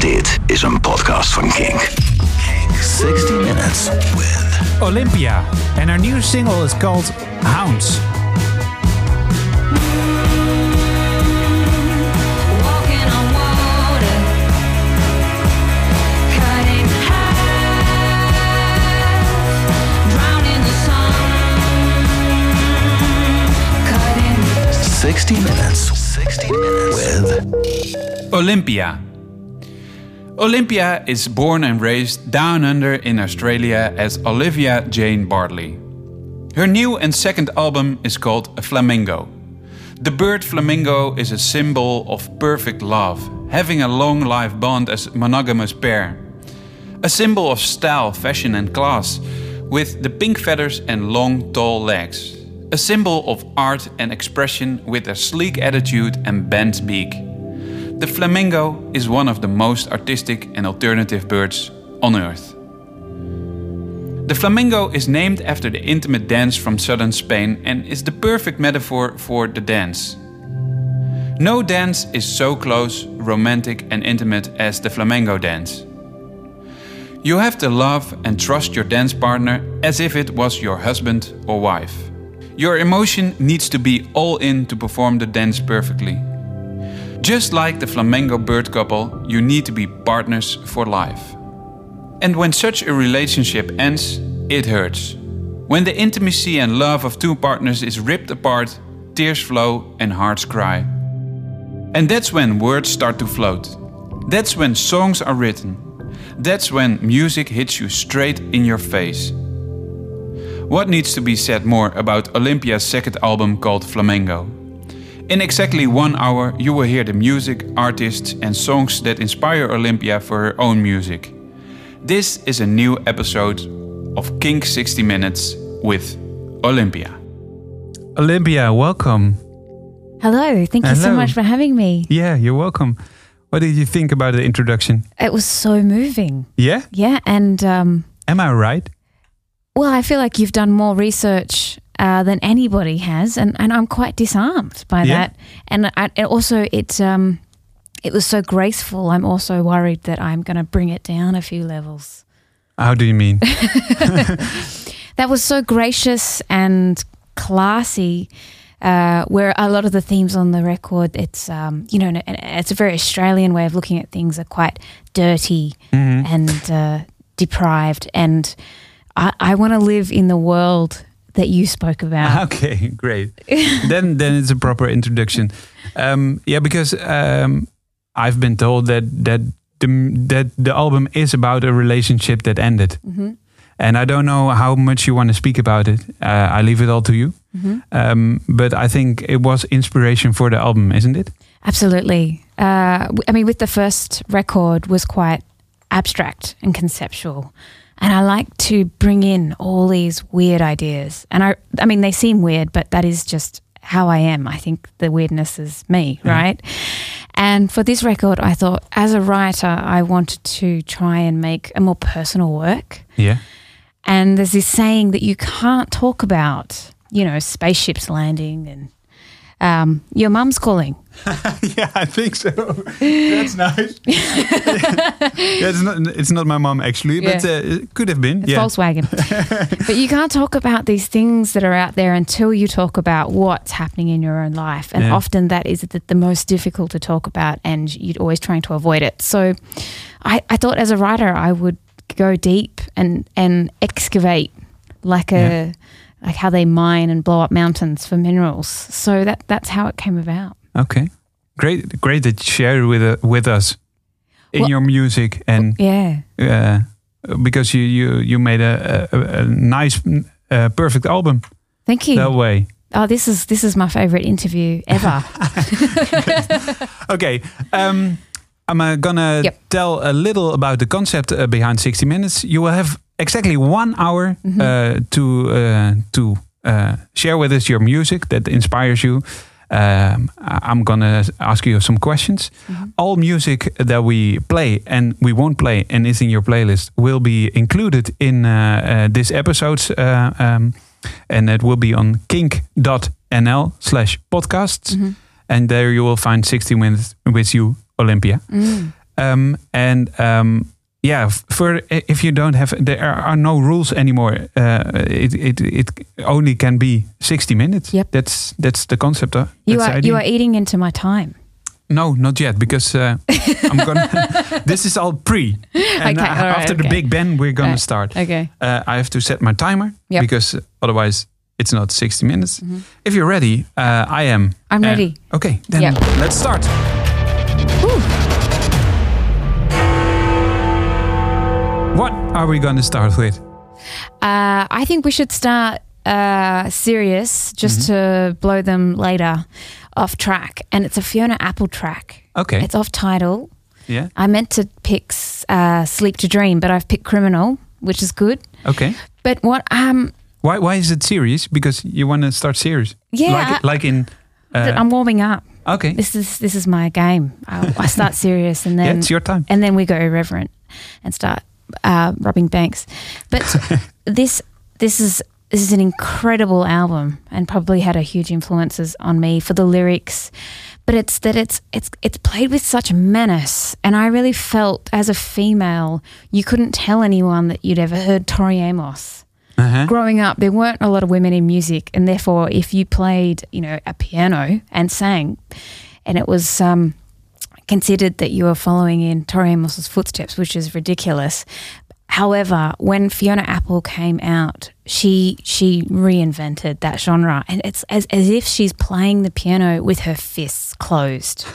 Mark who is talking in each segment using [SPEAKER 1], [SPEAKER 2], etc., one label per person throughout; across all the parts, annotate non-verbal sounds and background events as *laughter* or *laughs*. [SPEAKER 1] Dit is een podcast van Kink. 60 Minutes with
[SPEAKER 2] Olympia, and our new single is called Hounds.
[SPEAKER 3] Walking on water, cut in half, drown in the sun, cut in
[SPEAKER 1] 60 Minutes. 60 Minutes with
[SPEAKER 4] Olympia. Olympia is born and raised down under in Australia as Olivia Jane Bartley. Her new and second album is called A Flamingo. The bird flamingo is a symbol of perfect love, having a long life bond as monogamous pair. A symbol of style, fashion, and class, with the pink feathers and long, tall legs. A symbol of art and expression with a sleek attitude and bent beak. The flamingo is one of the most artistic and alternative birds on Earth. The flamingo is named after the intimate dance from southern Spain and is the perfect metaphor for the dance. No dance is so close, romantic, and intimate as the flamenco dance. You have to love and trust your dance partner as if it was your husband or wife. Your emotion needs to be all in to perform the dance perfectly. Just like the flamingo bird couple, you need to be partners for life. And when such a relationship ends, it hurts. When the intimacy and love of two partners is ripped apart, tears flow and hearts cry. And that's when words start to float. That's when songs are written. That's when music hits you straight in your face. What needs to be said more about Olympia's second album called Flamengo? In exactly one hour, you will hear the music, artists, and songs that inspire Olympia for her own music. This is a new episode of Kink 60 Minutes with Olympia.
[SPEAKER 2] Olympia, welcome.
[SPEAKER 5] Hello, thank you so
[SPEAKER 2] Hello.
[SPEAKER 5] much for having me.
[SPEAKER 2] Yeah, you're welcome. What did you think about the introduction?
[SPEAKER 5] It was so moving.
[SPEAKER 2] Yeah?
[SPEAKER 5] Yeah, and um,
[SPEAKER 2] Am I right?
[SPEAKER 5] well, I feel like you've done more research uh, than anybody has, and, and I'm quite disarmed by
[SPEAKER 2] Yeah.
[SPEAKER 5] that. And I, and also, it um, it was so graceful. I'm also worried that I'm going to bring it down a few levels.
[SPEAKER 2] How do you mean?
[SPEAKER 5] That was so gracious and classy. Uh, where a lot of the themes on the record, it's um, you know, and it's a very Australian way of looking at things. Are quite dirty and uh, deprived. And I, I want to live in the world that you spoke about.
[SPEAKER 2] okay, *laughs* great. then, then it's a proper introduction. Um, yeah, because um, I've been told that that the that the album is about a relationship that ended, and I don't know how much you want to speak about it. Uh, I leave it all to you. Um, but I think it was inspiration for the album, isn't it?
[SPEAKER 5] Absolutely. Uh, w- I mean, with the first record was quite abstract and conceptual, and I like to bring in all these weird ideas. And I, I mean, they seem weird, but that is just how I am. I think the weirdness is me, right? And for this record, I thought, as a writer, I wanted to try and make a more personal work.
[SPEAKER 2] Yeah.
[SPEAKER 5] And there's this saying that you can't talk about, you know, spaceships landing and um, your mum's calling.
[SPEAKER 2] *laughs* Yeah, I think so. That's nice. *laughs* yeah, it's not it's not my mom actually, but
[SPEAKER 5] Yeah.
[SPEAKER 2] uh, it could have been.
[SPEAKER 5] It's
[SPEAKER 2] yeah. *laughs*
[SPEAKER 5] Volkswagen. but you can't talk about these things that are out there until you talk about what's happening in your own life. And
[SPEAKER 2] Yeah.
[SPEAKER 5] often that is the, the most difficult to talk about, and you're always trying to avoid it. So I, I thought as a writer, I would go deep and, and excavate like a. Like how they mine and blow up mountains for minerals, so that that's how it came about.
[SPEAKER 2] Okay. Great great that you share it with uh, with us in
[SPEAKER 5] Well-
[SPEAKER 2] your music and
[SPEAKER 5] Yeah,
[SPEAKER 2] uh, because you you you made a a, a- a nice mm, uh, perfect album
[SPEAKER 5] thank you.
[SPEAKER 2] that way.
[SPEAKER 5] Oh, this is this is my favorite interview
[SPEAKER 2] *laughs*
[SPEAKER 5] ever.
[SPEAKER 2] Okay. Um, I'm uh, gonna
[SPEAKER 5] Yep.
[SPEAKER 2] tell a little about the concept uh, behind 60 Minutes. You will have exactly one hour uh, to uh, to uh, share with us your music that inspires you. Um, I- I'm gonna ask you some questions. All music that we play and we won't play and is in your playlist will be included in uh, uh, this episode's, uh, um, and it will be on
[SPEAKER 5] Mm-hmm. Mm.
[SPEAKER 2] kink.nl/slash podcasts and there you will find 60 minutes with you olympia
[SPEAKER 4] Um, and um, yeah, f- for if you don't have, there are, are no rules anymore. Uh, it, it it only can be sixty minutes.
[SPEAKER 5] Yep.
[SPEAKER 4] That's that's the concept. Uh,
[SPEAKER 5] You
[SPEAKER 4] that's the
[SPEAKER 5] are
[SPEAKER 4] idea.
[SPEAKER 5] you are eating into my time.
[SPEAKER 4] No, not yet, because uh, I'm
[SPEAKER 5] *laughs*
[SPEAKER 4] gonna. *laughs* this is all pre, and
[SPEAKER 5] Okay,
[SPEAKER 4] uh,
[SPEAKER 5] all right,
[SPEAKER 4] after the
[SPEAKER 5] okay.
[SPEAKER 4] Big Ben, we're gonna
[SPEAKER 5] Right.
[SPEAKER 4] start.
[SPEAKER 5] Okay.
[SPEAKER 4] Uh, I have to set my timer
[SPEAKER 5] Yep. Mm-hmm.
[SPEAKER 4] because otherwise it's not 60 minutes. If you're ready, uh, I am.
[SPEAKER 5] I'm
[SPEAKER 4] Uh,
[SPEAKER 5] ready.
[SPEAKER 4] Okay, then
[SPEAKER 5] Yep.
[SPEAKER 4] let's start. What are we gonna start with?
[SPEAKER 5] Uh, I think we should start uh, serious just to blow them later off track. And it's a Fiona Apple track.
[SPEAKER 4] Okay.
[SPEAKER 5] It's off title.
[SPEAKER 4] yeah.
[SPEAKER 5] I meant to pick uh, Sleep to Dream, but I've picked Criminal, which is good.
[SPEAKER 4] Okay.
[SPEAKER 5] But what um
[SPEAKER 4] Why Why is it serious? Because you wanna start serious.
[SPEAKER 5] Yeah,
[SPEAKER 4] Like,
[SPEAKER 5] I-
[SPEAKER 4] like in.
[SPEAKER 5] th- I'm warming up.
[SPEAKER 4] Okay.
[SPEAKER 5] This is this is my game. I, I
[SPEAKER 4] *laughs*
[SPEAKER 5] start serious and
[SPEAKER 4] Yeah,
[SPEAKER 5] then
[SPEAKER 4] it's your time.
[SPEAKER 5] and then we go irreverent and start uh, robbing banks.
[SPEAKER 4] *laughs*
[SPEAKER 5] But this this is this is an incredible album and probably had a huge influences on me for the lyrics. But it's that it's it's it's played with such menace, and I really felt as a female, you couldn't tell anyone that you'd ever heard Tori Amos growing up, there weren't a lot of women in music, and therefore, if you played, you know, a piano and sang, and it was um, considered that you were following in Tori Amos's footsteps, which is ridiculous. However, when Fiona Apple came out, she she reinvented that genre, and it's as, as if she's playing the piano with her fists closed.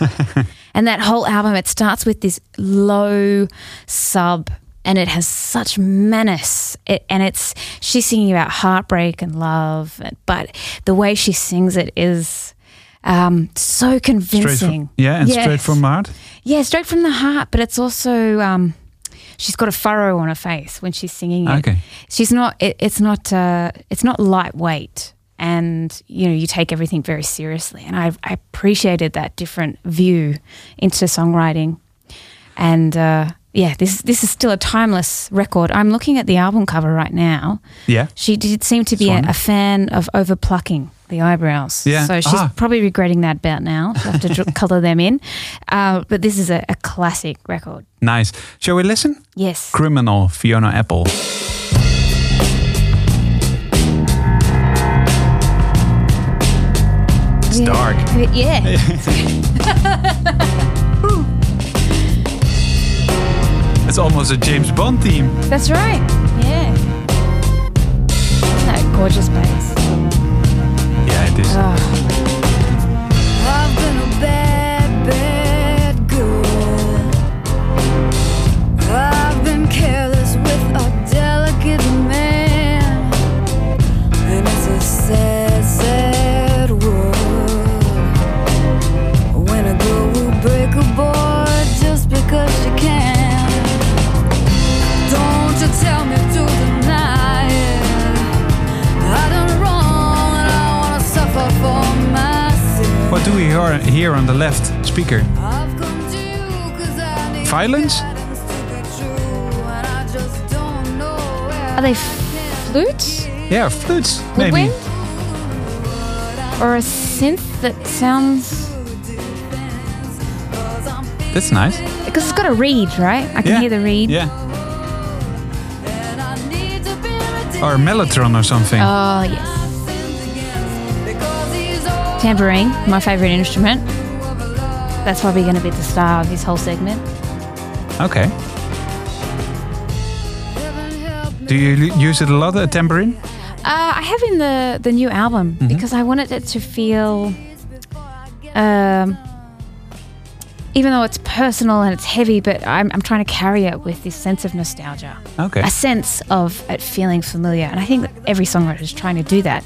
[SPEAKER 5] And that whole album, it starts with this low sub and it has such menace. It, and it's, she's singing about heartbreak and love, but the way she sings it is um, so
[SPEAKER 4] Straight
[SPEAKER 5] convincing.
[SPEAKER 4] from, yeah, and straight
[SPEAKER 5] Yes.
[SPEAKER 4] from my heart.
[SPEAKER 5] Yeah, straight from the heart, but it's also um, she's got a furrow on her face when she's singing it.
[SPEAKER 4] Okay.
[SPEAKER 5] She's not. It, it's not. Uh, it's not lightweight, and you know you take everything very seriously. And I, I appreciated that different view into songwriting, and uh, yeah, this this is still a timeless record. I'm looking at the album cover right now.
[SPEAKER 4] Yeah.
[SPEAKER 5] She did seem to be a,
[SPEAKER 4] Swan.
[SPEAKER 5] a fan of overplucking the eyebrows.
[SPEAKER 4] Yeah.
[SPEAKER 5] So she's
[SPEAKER 4] Ah.
[SPEAKER 5] probably regretting that about now. She'll have to
[SPEAKER 4] *laughs*
[SPEAKER 5] dr- colour them in. Uh, but this is a, a classic record.
[SPEAKER 4] Nice. Shall we listen?
[SPEAKER 5] Yes.
[SPEAKER 4] Criminal Fiona Apple.
[SPEAKER 5] It's
[SPEAKER 1] dark.
[SPEAKER 5] Yeah.
[SPEAKER 4] It's almost a James Bond theme.
[SPEAKER 5] That's right. Yeah. Isn't that gorgeous bass?
[SPEAKER 4] Yeah, it is.
[SPEAKER 5] Oh,
[SPEAKER 3] I've been a bad, bad girl. I've been careless with a delicate man. And it's a sad, sad world. When a girl will break a boy just because she can. Don't you tell me to deny it. I done wrong and I wanna suffer for my sin.
[SPEAKER 4] What do we hear, hear on the left speaker?
[SPEAKER 3] I've come to you 'cause I need
[SPEAKER 4] Violence?
[SPEAKER 3] guidance to be true, and I just don't know where
[SPEAKER 5] Are they
[SPEAKER 3] I
[SPEAKER 5] flutes
[SPEAKER 4] Yeah, flutes, maybe.
[SPEAKER 5] Woodwind? or a synth that sounds.
[SPEAKER 4] That's nice.
[SPEAKER 5] Because it's got a reed, right? I can
[SPEAKER 4] yeah.
[SPEAKER 5] hear the reed.
[SPEAKER 4] Yeah,
[SPEAKER 3] And I need to be redeemed.
[SPEAKER 4] or Mellotron or something.
[SPEAKER 5] Oh, yes.
[SPEAKER 3] I've sinned against because he's all
[SPEAKER 5] Tambourine, my favourite instrument. That's probably going to be the star of this whole segment. Oh.
[SPEAKER 4] okay.
[SPEAKER 3] heaven help me.
[SPEAKER 4] Do you l- use it a lot, a tambourine?
[SPEAKER 5] Uh, I have in the the new album
[SPEAKER 4] Mm-hmm.
[SPEAKER 5] because I wanted it to feel, um, even though it's personal and it's heavy, but I'm, I'm trying to carry it with this sense of nostalgia,
[SPEAKER 4] Okay.
[SPEAKER 5] a sense of it feeling familiar, and I think that every songwriter is trying to do that.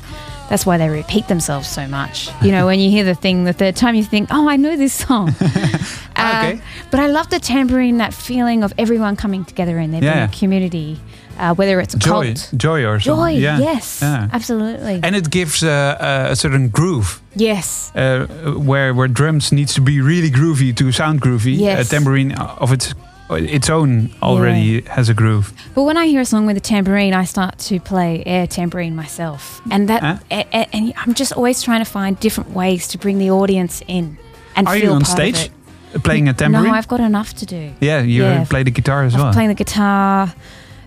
[SPEAKER 5] That's why they repeat themselves so much. You know, when you hear the thing the third time, you think, "Oh, I know this
[SPEAKER 4] *laughs*
[SPEAKER 5] song." Uh,
[SPEAKER 4] Okay.
[SPEAKER 5] But I love the tambourine, that feeling of everyone coming together and there being
[SPEAKER 4] Yeah.
[SPEAKER 5] a community, uh, whether it's a
[SPEAKER 4] Joy,
[SPEAKER 5] cult.
[SPEAKER 4] joy or
[SPEAKER 5] Joy,
[SPEAKER 4] something. Yeah.
[SPEAKER 5] yes,
[SPEAKER 4] Yeah.
[SPEAKER 5] absolutely.
[SPEAKER 4] And it gives uh, a certain groove.
[SPEAKER 5] yes,
[SPEAKER 4] Uh, where where drums needs to be really groovy to sound groovy,
[SPEAKER 5] Yes.
[SPEAKER 4] a tambourine of its its own already has a groove.
[SPEAKER 5] but when I hear a song with a tambourine, I start to play air tambourine myself, and that,
[SPEAKER 4] Huh?
[SPEAKER 5] a- a- and I'm just always trying to find different ways to bring the audience in and
[SPEAKER 4] Are
[SPEAKER 5] feel
[SPEAKER 4] you on
[SPEAKER 5] part of
[SPEAKER 4] stage? Uh,
[SPEAKER 5] it.
[SPEAKER 4] playing a tambourine?
[SPEAKER 5] No, I've got enough to do.
[SPEAKER 4] yeah, you
[SPEAKER 5] yeah.
[SPEAKER 4] play the guitar as
[SPEAKER 5] I'm
[SPEAKER 4] well.
[SPEAKER 5] playing the guitar.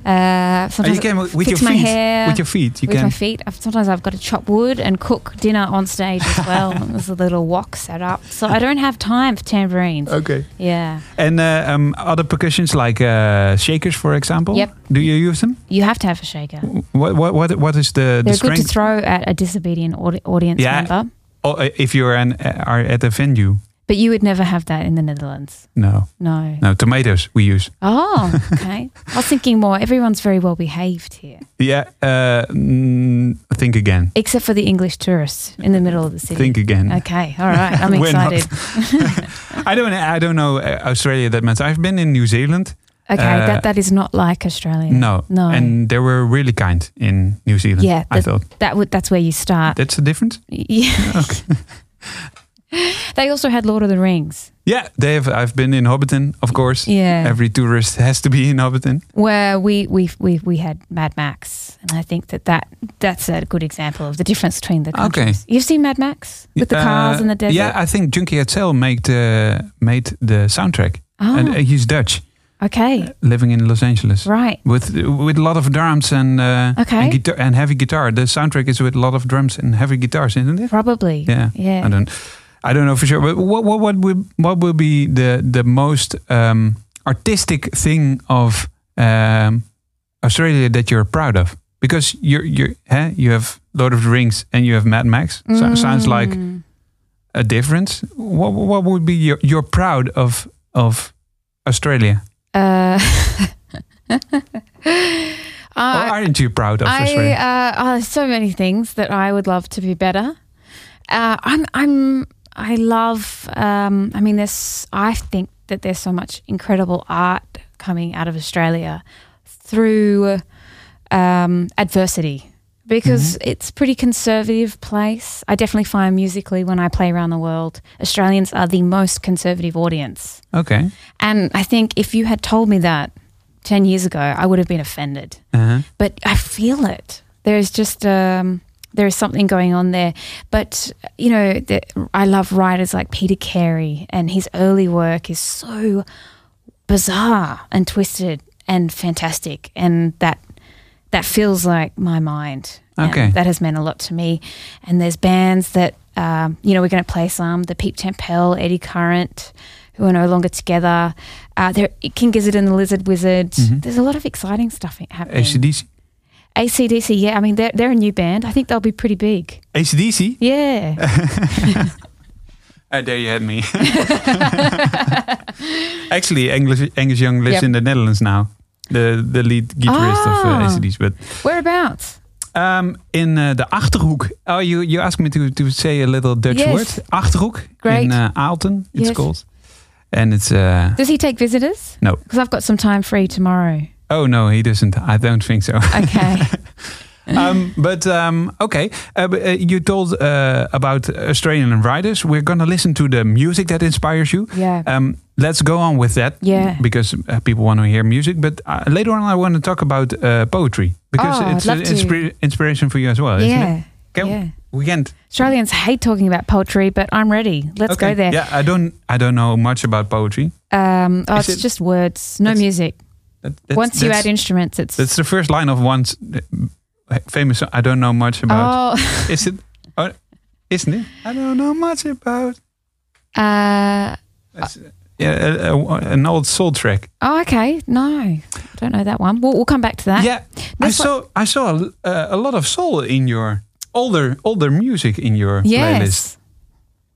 [SPEAKER 5] Uh,
[SPEAKER 4] Oh,
[SPEAKER 5] sometimes
[SPEAKER 4] you can with with your
[SPEAKER 5] fix
[SPEAKER 4] feet.
[SPEAKER 5] my hair
[SPEAKER 4] With your feet, you
[SPEAKER 5] with
[SPEAKER 4] can.
[SPEAKER 5] my feet. I've, sometimes I've got to chop wood and cook dinner on stage
[SPEAKER 4] *laughs*
[SPEAKER 5] as well. There's a little wok set up, so I don't have time for tambourines.
[SPEAKER 4] Okay.
[SPEAKER 5] Yeah,
[SPEAKER 4] And uh, um, other percussions like uh, shakers, for example.
[SPEAKER 5] Yep.
[SPEAKER 4] Do you use them?
[SPEAKER 5] you have to have a shaker.
[SPEAKER 4] What what what, what is the the
[SPEAKER 5] They're good to
[SPEAKER 4] strength?
[SPEAKER 5] throw at a disobedient audi- audience
[SPEAKER 4] Yeah.
[SPEAKER 5] member,
[SPEAKER 4] Oh, uh, if you are an uh, are at a venue,
[SPEAKER 5] but you would never have that in the Netherlands.
[SPEAKER 4] no, *laughs*
[SPEAKER 5] No.
[SPEAKER 4] no tomatoes we use.
[SPEAKER 5] Oh, okay. I was thinking more. Everyone's very well behaved here,
[SPEAKER 4] Yeah. Uh, mm, think again.
[SPEAKER 5] except for the English tourists in the middle of the city.
[SPEAKER 4] Think again.
[SPEAKER 5] Okay, all right. I'm
[SPEAKER 4] *laughs* We're not.
[SPEAKER 5] excited.
[SPEAKER 4] I don't I don't know uh, Australia that much. I've been in New Zealand.
[SPEAKER 5] Okay,
[SPEAKER 4] Uh,
[SPEAKER 5] that that is not like Australia.
[SPEAKER 4] No.
[SPEAKER 5] no.
[SPEAKER 4] And they were really kind in New Zealand.
[SPEAKER 5] Yeah,
[SPEAKER 4] I
[SPEAKER 5] that-
[SPEAKER 4] thought
[SPEAKER 5] that would that's where you start.
[SPEAKER 4] that's the difference. *laughs*
[SPEAKER 5] *laughs* Yeah. *laughs* they also had Lord of the Rings,
[SPEAKER 4] Yeah, they have. I've been in Hobbiton, of course.
[SPEAKER 5] Yeah.
[SPEAKER 4] Every tourist *laughs* has to be in Hobbiton.
[SPEAKER 5] where we we we we had Mad Max, and I think that, that that's a good example of the difference between the
[SPEAKER 4] Okay.
[SPEAKER 5] countries. You've seen Mad Max with the cars
[SPEAKER 4] Uh,
[SPEAKER 5] in the desert.
[SPEAKER 4] Yeah, I think Junkie Hatzel made the made the soundtrack,
[SPEAKER 5] Oh,
[SPEAKER 4] and uh, he's Dutch,
[SPEAKER 5] okay,
[SPEAKER 4] living in Los Angeles.
[SPEAKER 5] right.
[SPEAKER 4] With with a lot of drums and uh,
[SPEAKER 5] Okay.
[SPEAKER 4] and, guitar, and heavy guitar. The soundtrack is with a lot of drums and heavy guitars, isn't it?
[SPEAKER 5] Probably.
[SPEAKER 4] Yeah.
[SPEAKER 5] Yeah.
[SPEAKER 4] I don't I don't know for sure. But what what what will what will be the the most um, artistic thing of um, Australia that you're proud of? Because you're you huh? you have Lord of the Rings and you have Mad Max. So, Sounds like
[SPEAKER 5] Mm.
[SPEAKER 4] a difference. What what would be your you're proud of of Australia?
[SPEAKER 5] Uh, *laughs*
[SPEAKER 4] or
[SPEAKER 5] I-
[SPEAKER 4] aren't you proud of
[SPEAKER 5] I
[SPEAKER 4] Australia?
[SPEAKER 5] uh, oh, there's so many things that I would love to be better. Uh, I'm I'm I love. Um, I mean, there's I think that there's so much incredible art coming out of Australia through um, adversity because it's a pretty conservative place. I definitely find musically when I play around the world, Australians are the most conservative audience.
[SPEAKER 4] okay.
[SPEAKER 5] And I think if you had told me that 10 years ago, I would have been offended
[SPEAKER 4] Uh-huh.
[SPEAKER 5] but I feel it. There's just um, there is something going on there. But you know, the, I love writers like Peter Carey, and his early work is so bizarre and twisted and fantastic, and that that feels like my mind. And
[SPEAKER 4] Okay.
[SPEAKER 5] that has meant a lot to me. And there's bands that um, you know we're going to play some the Peep Tempel, Eddie Current. Who are no longer together? Uh, there, King Gizzard and the Lizard Wizard.
[SPEAKER 4] Mm-hmm.
[SPEAKER 5] There's a lot of exciting stuff happening.
[SPEAKER 4] ACDC.
[SPEAKER 5] ACDC, yeah. I mean, they're, they're a new band. I think they'll be pretty big.
[SPEAKER 4] ACDC? *laughs*
[SPEAKER 5] Yeah.
[SPEAKER 4] Ah, there you had
[SPEAKER 5] *laughs*
[SPEAKER 4] me. *laughs* Actually, English English Young lives
[SPEAKER 5] Yep.
[SPEAKER 4] in the Netherlands now. The the lead guitarist of uh,
[SPEAKER 5] Ah.
[SPEAKER 4] ACDC, but
[SPEAKER 5] Whereabouts?
[SPEAKER 4] um, in uh, the Achterhoek. Oh, you you asked me to to say a little Dutch
[SPEAKER 5] Yes.
[SPEAKER 4] word. Achterhoek
[SPEAKER 5] Great.
[SPEAKER 4] in uh, Aalten. It's
[SPEAKER 5] Yes.
[SPEAKER 4] called, and it's uh,
[SPEAKER 5] Does he take visitors?
[SPEAKER 4] No.
[SPEAKER 5] Because I've got some time free tomorrow.
[SPEAKER 4] oh no, he doesn't. I don't think
[SPEAKER 5] *laughs*
[SPEAKER 4] so. *laughs*
[SPEAKER 5] Okay.
[SPEAKER 4] um, but um, okay, uh, but, uh, you told uh, about Australian riders. We're gonna listen to the music that inspires you.
[SPEAKER 5] yeah.
[SPEAKER 4] Um, let's go on with that.
[SPEAKER 5] Yeah.
[SPEAKER 4] Because uh, people want to hear music, but uh, later on I want to talk about uh, poetry because
[SPEAKER 5] Oh, I'd
[SPEAKER 4] it's an
[SPEAKER 5] love to.
[SPEAKER 4] inspira- inspiration for you as well, isn't it?
[SPEAKER 5] yeah.
[SPEAKER 4] Can-
[SPEAKER 5] yeah.
[SPEAKER 4] We can't.
[SPEAKER 5] Australians hate talking about poetry, but I'm ready. Let's
[SPEAKER 4] okay.
[SPEAKER 5] go there.
[SPEAKER 4] Yeah, I don't. I don't know much about poetry.
[SPEAKER 5] Um, oh,
[SPEAKER 4] Is
[SPEAKER 5] it's
[SPEAKER 4] it-
[SPEAKER 5] just words, no
[SPEAKER 4] That's-
[SPEAKER 5] music.
[SPEAKER 4] That, that's,
[SPEAKER 5] Once you
[SPEAKER 4] that's-
[SPEAKER 5] add instruments, it's.
[SPEAKER 4] that's the first line of one's uh, famous. song, I don't know much about.
[SPEAKER 5] oh.
[SPEAKER 4] Is it? Oh, isn't it? I don't know much about.
[SPEAKER 5] *laughs* uh,
[SPEAKER 4] That's, yeah, a- a- an old soul track.
[SPEAKER 5] oh, okay. No. I don't know that one. We'll, we'll come back to that.
[SPEAKER 4] Yeah, I
[SPEAKER 5] That's what-
[SPEAKER 4] saw I saw a, uh, a lot of soul in your older older music in your
[SPEAKER 5] Yes. Yes.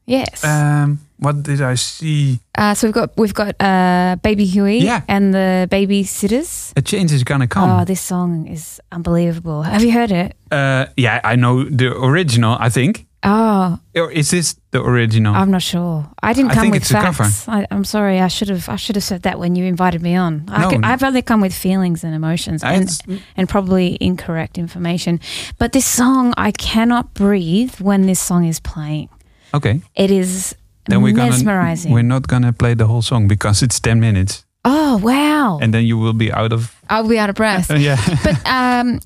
[SPEAKER 4] playlist. Um, what did I see?
[SPEAKER 5] Uh, so we've got we've got uh, Baby Huey
[SPEAKER 4] Yeah.
[SPEAKER 5] and the Babysitters.
[SPEAKER 4] A change is gonna come.
[SPEAKER 5] Oh, this song is unbelievable. Have you heard it?
[SPEAKER 4] uh, yeah, I know the original. I think,
[SPEAKER 5] Oh,
[SPEAKER 4] or is this the original?
[SPEAKER 5] I'm not sure. I didn't
[SPEAKER 4] I
[SPEAKER 5] come
[SPEAKER 4] think
[SPEAKER 5] with
[SPEAKER 4] it's a cover.
[SPEAKER 5] facts. I, I'm sorry. I should have I should have said that when you invited me on. I
[SPEAKER 4] No,
[SPEAKER 5] could,
[SPEAKER 4] no.
[SPEAKER 5] I've only come with feelings and emotions
[SPEAKER 4] I-
[SPEAKER 5] and and probably incorrect information. But this song, I cannot breathe when this song is playing.
[SPEAKER 4] okay,
[SPEAKER 5] It is
[SPEAKER 4] then we're gonna
[SPEAKER 5] mesmerizing.
[SPEAKER 4] we're not gonna play the whole song because it's ten minutes,
[SPEAKER 5] oh wow!
[SPEAKER 4] and then you will be out of
[SPEAKER 5] I'll be out of breath.
[SPEAKER 4] yeah.
[SPEAKER 5] but um,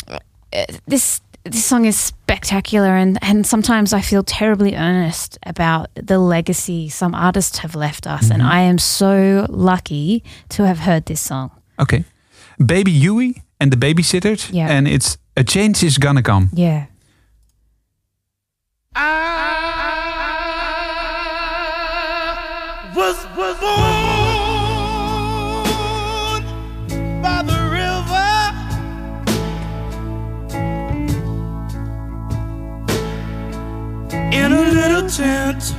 [SPEAKER 5] uh, this this song is spectacular and, and sometimes I feel terribly earnest about the legacy some artists have left us and I am so lucky to have heard this song.
[SPEAKER 4] Okay. Baby Huey and the Babysitters.
[SPEAKER 5] Yeah.
[SPEAKER 4] And it's A Change Is Gonna Come.
[SPEAKER 5] Yeah.
[SPEAKER 6] was was born by the river. In a little tent.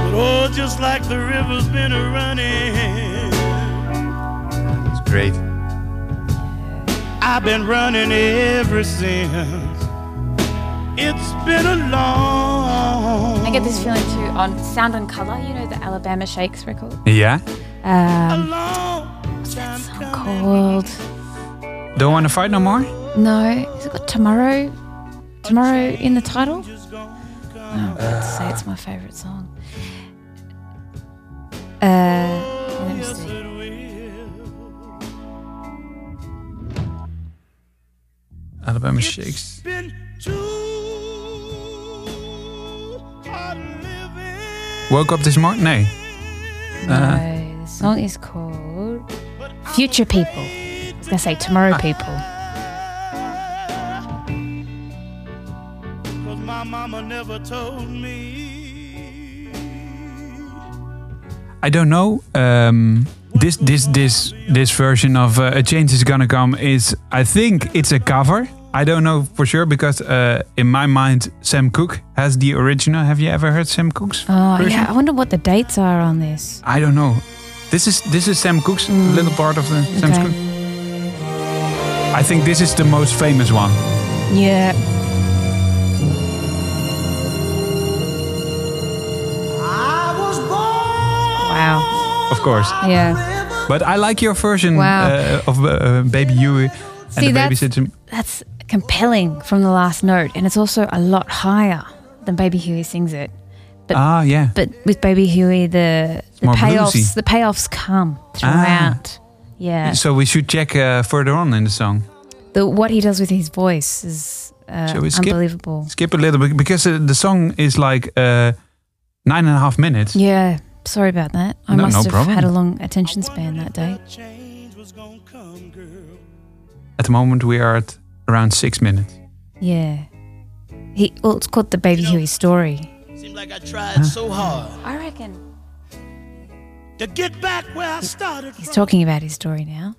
[SPEAKER 6] But oh, just like the river's been a running.
[SPEAKER 7] It's great.
[SPEAKER 6] I've been running ever since. It's been a long
[SPEAKER 5] I get this feeling too on Sound and Color, you know the Alabama Shakes record.
[SPEAKER 4] Yeah.
[SPEAKER 5] Um,
[SPEAKER 6] What's that
[SPEAKER 5] song called
[SPEAKER 4] Don't want to fight no more?
[SPEAKER 5] No, has it got Tomorrow? Tomorrow in the title? Oh, I'd say it's my favorite song. Uh, let me see.
[SPEAKER 4] Alabama Shakes.
[SPEAKER 6] Been too hard living,
[SPEAKER 4] Woke up this morning? Nee. Uh-huh.
[SPEAKER 5] No, the song is called Future People. I was gonna say
[SPEAKER 4] Ah.
[SPEAKER 5] Tomorrow People.
[SPEAKER 6] 'cause my mama never told me.
[SPEAKER 4] I don't know. Um, this this this this version of uh, A Change Is Gonna Come is, I think, it's a cover. I don't know for sure because uh, in my mind, Sam Cooke has the original. Have you ever heard Sam Cooke's?
[SPEAKER 5] Oh
[SPEAKER 4] version?
[SPEAKER 5] yeah, I wonder what the dates are on this.
[SPEAKER 4] I don't know. This is this is Sam Cooke's little part of the Sam
[SPEAKER 5] Mm. Okay.
[SPEAKER 4] Cooke. I think this is the most famous one.
[SPEAKER 5] Yeah. Wow.
[SPEAKER 4] Of course.
[SPEAKER 5] Yeah.
[SPEAKER 4] But I like your version
[SPEAKER 5] Wow.
[SPEAKER 4] uh, of uh, Baby Huey and
[SPEAKER 5] See,
[SPEAKER 4] the Baby
[SPEAKER 5] that's-
[SPEAKER 4] System.
[SPEAKER 5] That's compelling from the last note, and it's also a lot higher than Baby Huey sings it.
[SPEAKER 4] Ah, yeah.
[SPEAKER 5] But with Baby Huey, the, the
[SPEAKER 4] more
[SPEAKER 5] payoffs
[SPEAKER 4] bluesy. Ah.
[SPEAKER 5] the payoffs come throughout. Yeah,
[SPEAKER 4] So we should check uh, further on in the song.
[SPEAKER 5] the, what he does with his voice is uh,
[SPEAKER 4] Shall we skip?
[SPEAKER 5] unbelievable.
[SPEAKER 4] Skip a little bit because uh, the song is like uh, nine and a half minutes.
[SPEAKER 5] Yeah, sorry about that. I
[SPEAKER 4] No,
[SPEAKER 5] must
[SPEAKER 4] no
[SPEAKER 5] have
[SPEAKER 4] problem.
[SPEAKER 5] had a long attention span that day.
[SPEAKER 6] Change was gonna come, girl.
[SPEAKER 4] At the moment, we are at around six minutes.
[SPEAKER 5] Yeah, he well, it's called the Baby Huey story.
[SPEAKER 6] Seemed like I tried so hard
[SPEAKER 5] I reckon
[SPEAKER 6] to get back where I started
[SPEAKER 5] he's
[SPEAKER 6] from.
[SPEAKER 5] talking about his story now.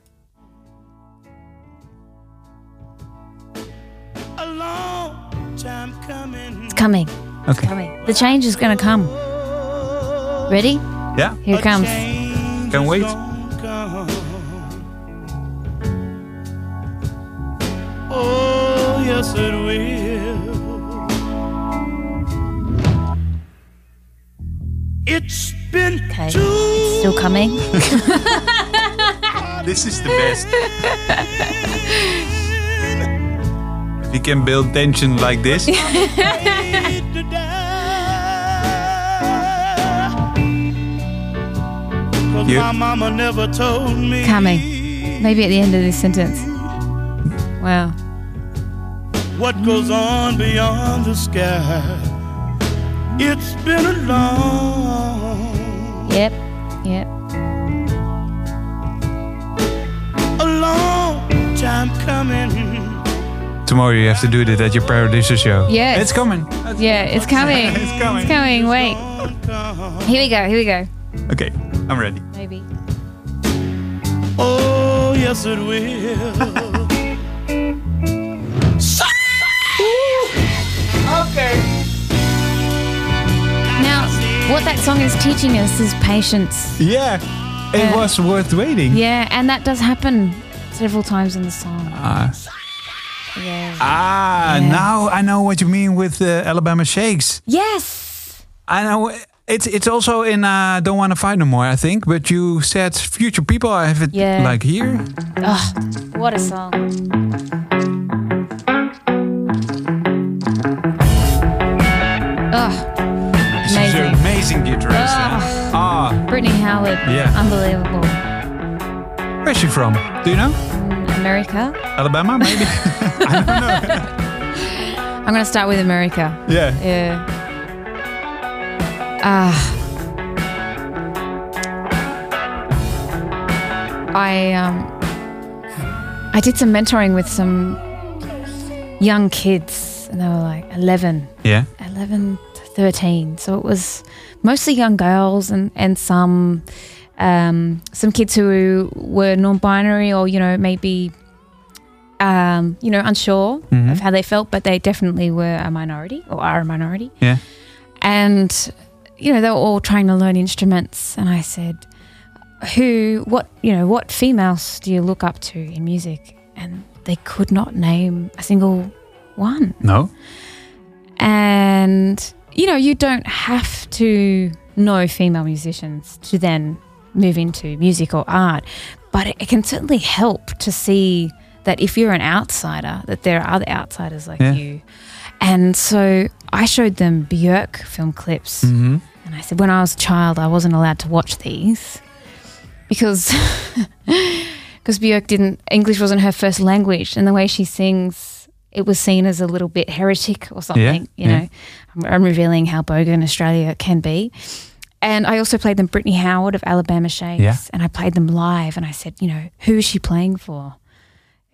[SPEAKER 6] A long time coming.
[SPEAKER 5] It's coming,
[SPEAKER 4] Okay.
[SPEAKER 5] coming. The change is gonna come. Ready?
[SPEAKER 4] Yeah.
[SPEAKER 5] Here it comes.
[SPEAKER 4] Can't wait.
[SPEAKER 6] Oh, yes, it will. It's been
[SPEAKER 5] Okay,
[SPEAKER 6] too
[SPEAKER 5] it's still coming.
[SPEAKER 4] This is the best. you can build tension like this.
[SPEAKER 6] late to die. 'Cause
[SPEAKER 4] You-
[SPEAKER 6] my mama never told me.
[SPEAKER 5] *laughs* Coming. Maybe at the end of this sentence. Wow.
[SPEAKER 6] what goes on beyond the sky. It's been a long,
[SPEAKER 5] Yep. Yep.
[SPEAKER 6] a long time coming.
[SPEAKER 4] Tomorrow you have to do that at your Paradiso show.
[SPEAKER 5] Yes.
[SPEAKER 4] It's coming.
[SPEAKER 5] Yeah,
[SPEAKER 4] *laughs*
[SPEAKER 5] it's coming. it's
[SPEAKER 4] coming.
[SPEAKER 5] It's coming. Wait. Here we go. Here we go.
[SPEAKER 4] Okay, I'm ready.
[SPEAKER 5] Maybe.
[SPEAKER 6] Oh, yes, it will.
[SPEAKER 5] Now, what that song is teaching us is patience.
[SPEAKER 4] Yeah. It
[SPEAKER 5] Yeah.
[SPEAKER 4] was worth waiting.
[SPEAKER 5] Yeah, and that does happen several times in the song.
[SPEAKER 4] Ah.
[SPEAKER 5] yeah.
[SPEAKER 4] Ah,
[SPEAKER 5] Yeah.
[SPEAKER 4] now I know what you mean with uh, Alabama Shakes.
[SPEAKER 5] Yes.
[SPEAKER 4] I know it's it's also in uh, Don't Want to Fight No More, I think. But you said Future People. I have it
[SPEAKER 5] Yeah.
[SPEAKER 4] like here.
[SPEAKER 5] Oh, what a song. Oh, amazing.
[SPEAKER 4] amazing guitarist.
[SPEAKER 5] Ah.
[SPEAKER 4] Ah,
[SPEAKER 5] Brittany Howard.
[SPEAKER 4] Yeah.
[SPEAKER 5] Unbelievable.
[SPEAKER 4] where's she from? Do you know?
[SPEAKER 5] Mm, America.
[SPEAKER 4] Alabama, maybe?
[SPEAKER 5] *laughs*
[SPEAKER 4] *laughs*
[SPEAKER 5] I'm going to start with America.
[SPEAKER 4] yeah.
[SPEAKER 5] Yeah. Ah. I um I did some mentoring with some young kids and they were like 11
[SPEAKER 4] Yeah.
[SPEAKER 5] 11 to 13 so it was mostly young girls and and some um, some kids who were non-binary or you know maybe um, you know unsure
[SPEAKER 4] Mhm.
[SPEAKER 5] of how they felt but they definitely were a minority or are a minority
[SPEAKER 4] Yeah.
[SPEAKER 5] and you know they were all trying to learn instruments and i said who what you know what females do you look up to in music and they could not name a single one
[SPEAKER 4] No.
[SPEAKER 5] and you know you don't have to know female musicians to then move into music or art but it, it can certainly help to see that if you're an outsider that there are other outsiders like
[SPEAKER 4] Yeah.
[SPEAKER 5] you and so i showed them björk film clips
[SPEAKER 4] Mm-hmm.
[SPEAKER 5] and I said, when I was a child, I wasn't allowed to watch these because *laughs* because Björk didn't English wasn't her first language, and the way she sings, it was seen as a little bit heretic or something. you
[SPEAKER 4] yeah.
[SPEAKER 5] know, I'm, I'm revealing how bogan Australia can be. And I also played them Brittany Howard of Alabama Shakes,
[SPEAKER 4] Yeah.
[SPEAKER 5] and I played them live, and I said, you know, who is she playing for?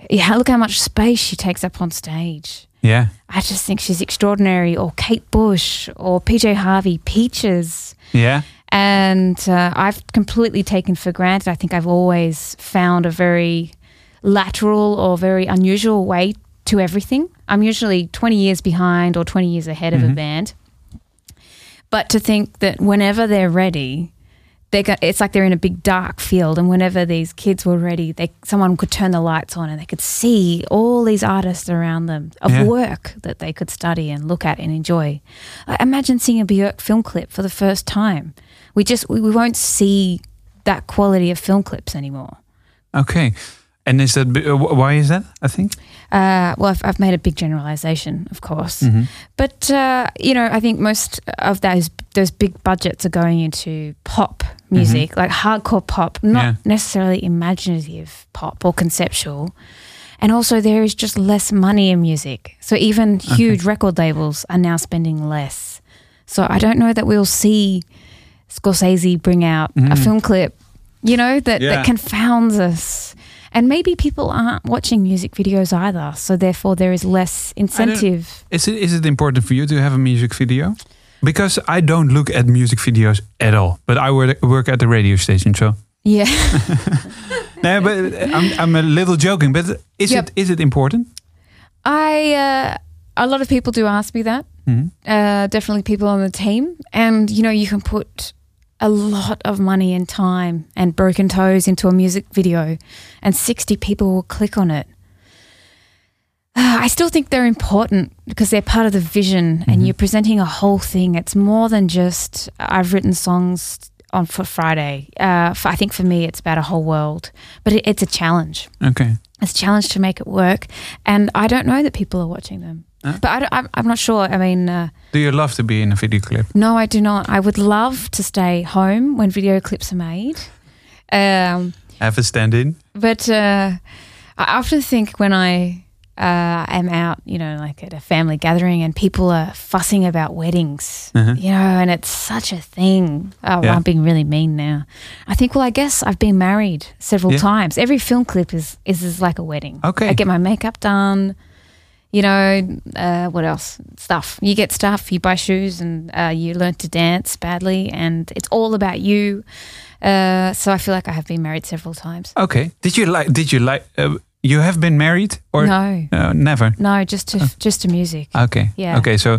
[SPEAKER 5] Yeah, look how much space she takes up on stage.
[SPEAKER 4] Yeah.
[SPEAKER 5] I just think she's extraordinary, or Kate Bush, or PJ Harvey, Peaches.
[SPEAKER 4] Yeah.
[SPEAKER 5] And uh, I've completely taken for granted. I think I've always found a very lateral or very unusual way to everything. I'm usually 20 years behind or 20 years ahead of a band. But to think that whenever they're ready, they go, it's like they're in a big dark field, and whenever these kids were ready, they someone could turn the lights on and they could see all these artists around them of
[SPEAKER 4] Yeah.
[SPEAKER 5] work that they could study and look at and enjoy. Like, imagine seeing a Björk film clip for the first time. We just we, we won't see that quality of film clips anymore.
[SPEAKER 4] Okay. And is that b- uh, wh- why is that? I think.
[SPEAKER 5] Uh, well, I've, I've made a big generalization, of course, but uh, you know, I think most of those those big budgets are going into pop music, like hardcore pop, not
[SPEAKER 4] Mm-hmm. Yeah.
[SPEAKER 5] necessarily imaginative pop or conceptual. And also, there is just less money in music, so even huge record labels are now spending less. So I don't know that we'll see Scorsese bring out a film clip, you know, that,
[SPEAKER 4] Mm-hmm. Yeah.
[SPEAKER 5] that confounds us. And maybe people aren't watching music videos either. So therefore, there is less incentive.
[SPEAKER 4] Is it is it important for you to have a music video? Because I don't look at music videos at all, but I wor- work at the radio station, so.
[SPEAKER 5] Yeah.
[SPEAKER 4] No, but uh, I'm, I'm a little joking. But is
[SPEAKER 5] Yep.
[SPEAKER 4] it is it important?
[SPEAKER 5] I, uh, a lot of people do ask me that.
[SPEAKER 4] Mhm.
[SPEAKER 5] Uh, definitely people on the team. And, you know, you can put a lot of money and time and broken toes into a music video, and 60 people will click on it. Uh, I still think they're important because they're part of the vision and you're presenting a whole thing. It's more than just, I've written songs on for Friday. Uh, for, I think for me, it's about a whole world, but it, it's a challenge
[SPEAKER 4] Okay.
[SPEAKER 5] it's a challenge to make it work and i don't know that people are watching them but I am I'm not sure i mean uh,
[SPEAKER 4] Do you love to be in a video clip?
[SPEAKER 5] no i do not i would love to stay home when video clips are made um,
[SPEAKER 4] Have a stand-in.
[SPEAKER 5] but uh, I often think when I uh, am out, you know, like at a family gathering and people are fussing about weddings, you know, and it's such a thing. Oh,
[SPEAKER 4] Mm-hmm. Yeah.
[SPEAKER 5] I'm being really mean now. I think, well, I guess I've been married several
[SPEAKER 4] Yeah.
[SPEAKER 5] times. Every film clip is, is is like a wedding.
[SPEAKER 4] Okay.
[SPEAKER 5] I get my makeup done. You know, uh, what else? Stuff. You get stuff, you buy shoes, and uh, you learn to dance badly, and it's all about you. Uh, so I feel like I have been married several times.
[SPEAKER 4] Okay. Did you like? Did you like? Uh, you have been married or
[SPEAKER 5] no,
[SPEAKER 4] Uh, never?
[SPEAKER 5] no, just to just to music.
[SPEAKER 4] Okay.
[SPEAKER 5] Yeah.
[SPEAKER 4] Okay. So,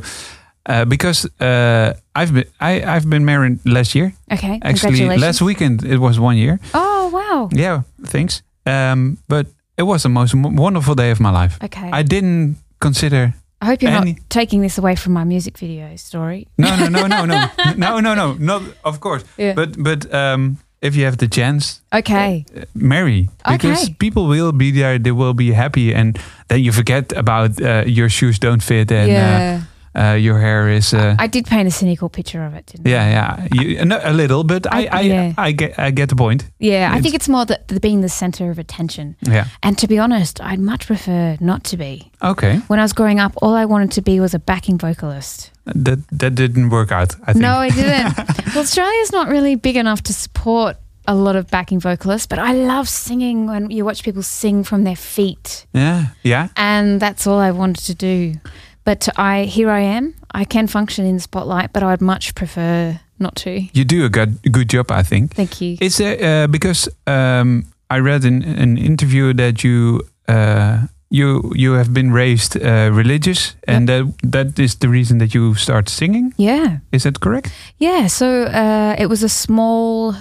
[SPEAKER 4] uh, because uh, I've been I I've been married last year.
[SPEAKER 5] okay,
[SPEAKER 4] Actually,
[SPEAKER 5] congratulations.
[SPEAKER 4] last weekend it was one year.
[SPEAKER 5] oh wow.
[SPEAKER 4] Yeah. Thanks. Um, but it was the most w- wonderful day of my life.
[SPEAKER 5] Okay,
[SPEAKER 4] I
[SPEAKER 5] I,
[SPEAKER 4] didn't consider.
[SPEAKER 5] hope you're
[SPEAKER 4] any-
[SPEAKER 5] not taking this away from my music video story.
[SPEAKER 4] No, no, no, no,
[SPEAKER 5] *laughs*
[SPEAKER 4] no, no, no, no. Not of course.
[SPEAKER 5] Yeah.
[SPEAKER 4] But but um, if you have the chance,
[SPEAKER 5] Okay,
[SPEAKER 4] marry because
[SPEAKER 5] Okay.
[SPEAKER 4] people will be there they will be happy and then you forget about uh, your shoes don't fit and
[SPEAKER 5] yeah,
[SPEAKER 4] uh, uh, your hair is. Uh,
[SPEAKER 5] I did paint a cynical picture of it, didn't I?
[SPEAKER 4] yeah, yeah, you, uh, no, a little, but I, I,
[SPEAKER 5] I- yeah.
[SPEAKER 4] I get, I get the point.
[SPEAKER 5] Yeah, I
[SPEAKER 4] It's-
[SPEAKER 5] think it's more that the, being the center of attention.
[SPEAKER 4] Yeah.
[SPEAKER 5] And to be honest, I'd much prefer not to be.
[SPEAKER 4] Okay,
[SPEAKER 5] When I was growing up, all I wanted to be was a backing vocalist.
[SPEAKER 4] that that didn't work out. I think.
[SPEAKER 5] No, I
[SPEAKER 4] *laughs*
[SPEAKER 5] didn't. well, Australia's not really big enough to support a lot of backing vocalists, but I love singing when you watch people sing from their feet.
[SPEAKER 4] Yeah, yeah.
[SPEAKER 5] And that's all I wanted to do. But I here I am. I can function in the spotlight, but I'd much prefer not to.
[SPEAKER 4] You do a good good job, I think.
[SPEAKER 5] Thank you.
[SPEAKER 4] Is there uh, because um, I read in an interview that you uh, you you have been raised uh, religious, and that that is the reason that you start singing.
[SPEAKER 5] yeah.
[SPEAKER 4] Is that correct?
[SPEAKER 5] Yeah, so uh, it was a small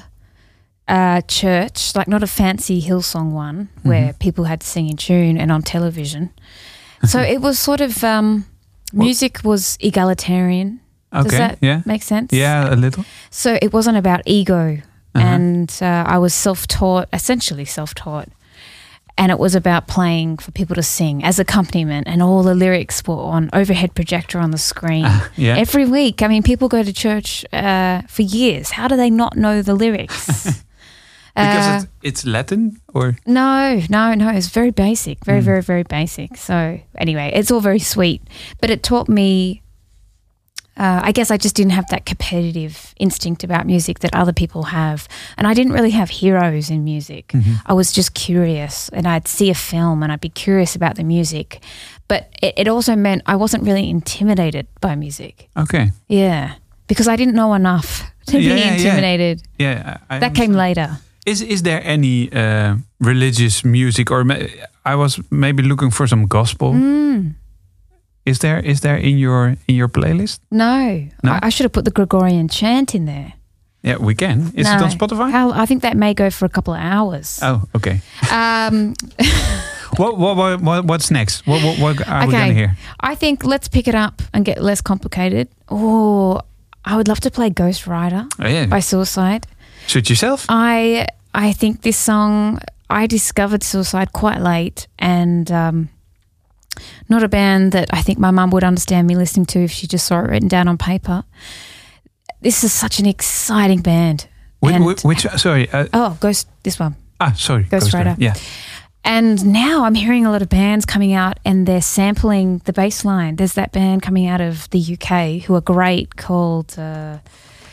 [SPEAKER 5] uh, church, like not a fancy Hillsong one,
[SPEAKER 4] Mm-hmm.
[SPEAKER 5] where people had to sing in tune and on television.
[SPEAKER 4] *laughs*
[SPEAKER 5] So it was sort of um, music was egalitarian.
[SPEAKER 4] Okay.
[SPEAKER 5] Does that
[SPEAKER 4] yeah.
[SPEAKER 5] make sense?
[SPEAKER 4] Yeah, a little.
[SPEAKER 5] So it wasn't about ego, and uh, I was self-taught, essentially self-taught, and it was about playing for people to sing as accompaniment, and all the lyrics were on overhead projector on the screen
[SPEAKER 4] Yeah.
[SPEAKER 5] every week. I mean, people go to church uh, for years. How do they not know the lyrics? Uh,
[SPEAKER 4] because it's, it's Latin, or
[SPEAKER 5] no, no, no. It's very basic,
[SPEAKER 4] Hmm.
[SPEAKER 5] very, very, very basic. So anyway, it's all very sweet, but it taught me. Uh, I guess I just didn't have that competitive instinct about music that other people have, and I didn't really have heroes in music.
[SPEAKER 4] Mm-hmm.
[SPEAKER 5] I was just curious, and I'd see a film and I'd be curious about the music, but it, it also meant I wasn't really intimidated by music.
[SPEAKER 4] okay.
[SPEAKER 5] Yeah, because I didn't know enough to
[SPEAKER 4] Yeah,
[SPEAKER 5] be
[SPEAKER 4] yeah.
[SPEAKER 5] intimidated.
[SPEAKER 4] Yeah, I, I
[SPEAKER 5] That came later.
[SPEAKER 4] Is is there any uh, religious music, or ma- I was maybe looking for some gospel?
[SPEAKER 5] Mm.
[SPEAKER 4] Is there is there in your in your playlist?
[SPEAKER 5] No,
[SPEAKER 4] No?
[SPEAKER 5] I, I should have put the Gregorian chant in there.
[SPEAKER 4] Yeah, we can. Is it
[SPEAKER 5] No.
[SPEAKER 4] on Spotify?
[SPEAKER 5] How- I think that may go for a couple of hours.
[SPEAKER 4] Oh, okay. *laughs*
[SPEAKER 5] Um,
[SPEAKER 4] What what what, what what's next? What what, what are we gonna
[SPEAKER 5] okay.
[SPEAKER 4] hear?
[SPEAKER 5] I think let's pick it up and get less complicated. Oh, I would love to play Ghost Rider
[SPEAKER 4] Oh, yeah.
[SPEAKER 5] by Suicide.
[SPEAKER 4] Suit yourself.
[SPEAKER 5] I I think this song I discovered Suicide quite late and um, not a band that I think my mum would understand me listening to if she just saw it written down on paper. This is such an exciting band.
[SPEAKER 4] Whi-
[SPEAKER 5] and-
[SPEAKER 4] whi- which sorry. Uh,
[SPEAKER 5] oh, Ghost this one.
[SPEAKER 4] ah, sorry.
[SPEAKER 5] Ghost Rider.
[SPEAKER 4] Yeah.
[SPEAKER 5] And now I'm hearing a lot of bands coming out and they're sampling the bass line. There's that band coming out of the UK who are great called uh,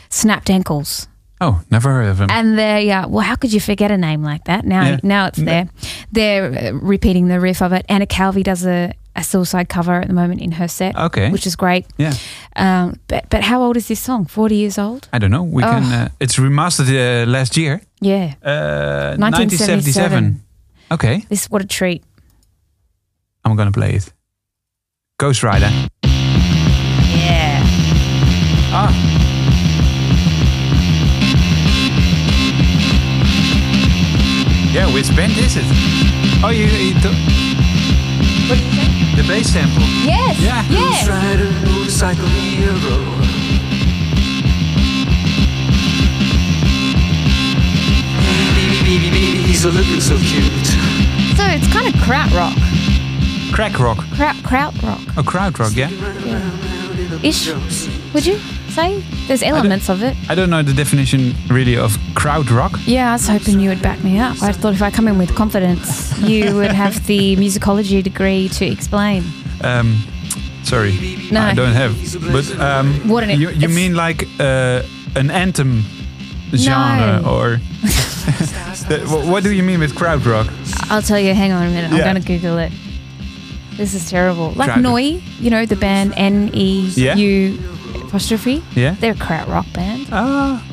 [SPEAKER 5] Snapped Ankles.
[SPEAKER 4] Oh, never heard of him.
[SPEAKER 5] And they're, yeah, well, how could you forget a name like that? Now
[SPEAKER 4] Yeah. Mm.
[SPEAKER 5] now it's
[SPEAKER 4] No.
[SPEAKER 5] there. They're uh, repeating the riff of it. Anna Calvi does a, a suicide cover at the moment in her set,
[SPEAKER 4] Okay.
[SPEAKER 5] which is great.
[SPEAKER 4] yeah.
[SPEAKER 5] Um, but, but how old is this song? 40 years old?
[SPEAKER 4] I don't know. We can.
[SPEAKER 5] Oh.
[SPEAKER 4] Uh, it's remastered uh, last year.
[SPEAKER 5] Yeah.
[SPEAKER 4] Uh,
[SPEAKER 5] 1977.
[SPEAKER 4] 1977. Okay,
[SPEAKER 5] This What a treat.
[SPEAKER 4] I'm gonna play it. Ghost Rider.
[SPEAKER 5] Yeah.
[SPEAKER 4] Ah. Yeah, which band is it? Oh, you. you do- the bass sample.
[SPEAKER 5] Yes.
[SPEAKER 4] Yeah.
[SPEAKER 5] Yes.
[SPEAKER 1] Rider, motorcycle hero. Baby, baby, baby, he's a looking so cute.
[SPEAKER 5] So it's kind of kraut rock.
[SPEAKER 4] Crack rock.
[SPEAKER 5] Kraut, kraut rock.
[SPEAKER 4] Oh, crowd rock. Yeah.
[SPEAKER 5] ish, would you say? There's elements of it.
[SPEAKER 4] I don't know the definition really of crowd rock.
[SPEAKER 5] Yeah, I was hoping you would back me up. I thought if I come in with confidence, you would have the musicology degree to explain.
[SPEAKER 4] Um, sorry,
[SPEAKER 5] No.
[SPEAKER 4] I don't have. But um,
[SPEAKER 5] What an-
[SPEAKER 4] you, you
[SPEAKER 5] it's-
[SPEAKER 4] mean like uh, an anthem genre
[SPEAKER 5] No.
[SPEAKER 4] or? *laughs* The- wha- what do you mean with crowd rock?
[SPEAKER 5] I'll tell you, hang on a minute.
[SPEAKER 4] Yeah.
[SPEAKER 5] I'm going to Google it. This is terrible. Like
[SPEAKER 4] Try it.
[SPEAKER 5] Noi, you know, the band N E U apostrophe.
[SPEAKER 4] Yeah.
[SPEAKER 5] They're a kraut rock band.
[SPEAKER 4] Ah,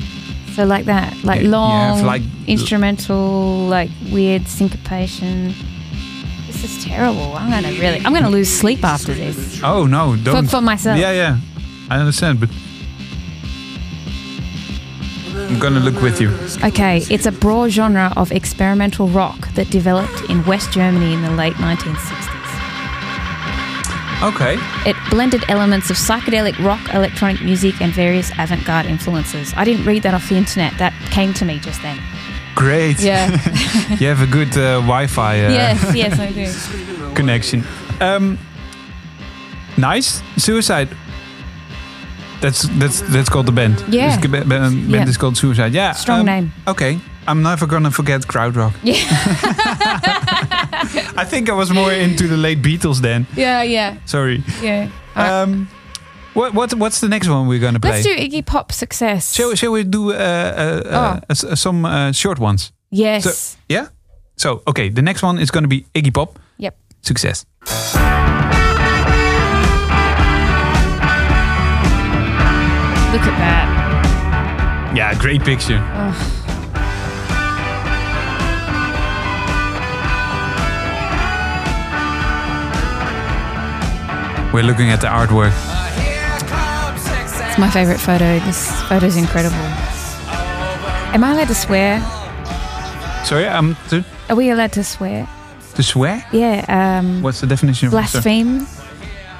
[SPEAKER 5] So, like that, like
[SPEAKER 4] Yeah, you
[SPEAKER 5] long,
[SPEAKER 4] have like-
[SPEAKER 5] instrumental, like weird syncopation. This is terrible. I'm going to really, I'm going to lose sleep after this.
[SPEAKER 4] oh no, don't.
[SPEAKER 5] for myself.
[SPEAKER 4] Yeah, yeah, I understand, but I'm gonna look with you.
[SPEAKER 5] Okay, it's a broad genre of experimental rock that developed in West Germany in the late 1960s.
[SPEAKER 4] Okay,
[SPEAKER 5] It blended elements of psychedelic rock, electronic music, and various avant garde influences. I didn't read that off the internet, that came to me just then.
[SPEAKER 4] great. *laughs* you have a good uh, Wi-Fi uh,
[SPEAKER 5] *laughs* yes, yes, I do.
[SPEAKER 4] connection. Um, nice suicide. That's that's that's called the band.
[SPEAKER 5] Yeah.
[SPEAKER 4] It's- the ba- band,
[SPEAKER 5] Yeah.
[SPEAKER 4] band is called Suicide. Yeah.
[SPEAKER 5] Strong name.
[SPEAKER 4] Okay. I'm never gonna forget crowd rock.
[SPEAKER 5] Yeah.
[SPEAKER 4] I think I was more into the late Beatles then.
[SPEAKER 5] Yeah, yeah,
[SPEAKER 4] Sorry.
[SPEAKER 5] yeah.
[SPEAKER 4] Um, what what what's the next one we're gonna play?
[SPEAKER 5] Let's do Iggy Pop success.
[SPEAKER 4] shall, shall we do uh, uh, uh,
[SPEAKER 5] Oh.
[SPEAKER 4] s- uh, some uh, short ones?
[SPEAKER 5] yes.
[SPEAKER 4] Yeah. So okay, the next one is gonna be Iggy Pop
[SPEAKER 5] yep.
[SPEAKER 4] success.
[SPEAKER 5] Look at that.
[SPEAKER 4] Yeah, great picture. We're looking at the artwork.
[SPEAKER 5] It's my favorite photo. This photo's incredible. Am I allowed to swear?
[SPEAKER 4] Sorry, um, to,
[SPEAKER 5] Are we allowed to swear?
[SPEAKER 4] to swear?
[SPEAKER 5] Yeah. Um,
[SPEAKER 4] What's the definition? of- sorry.
[SPEAKER 5] blaspheme.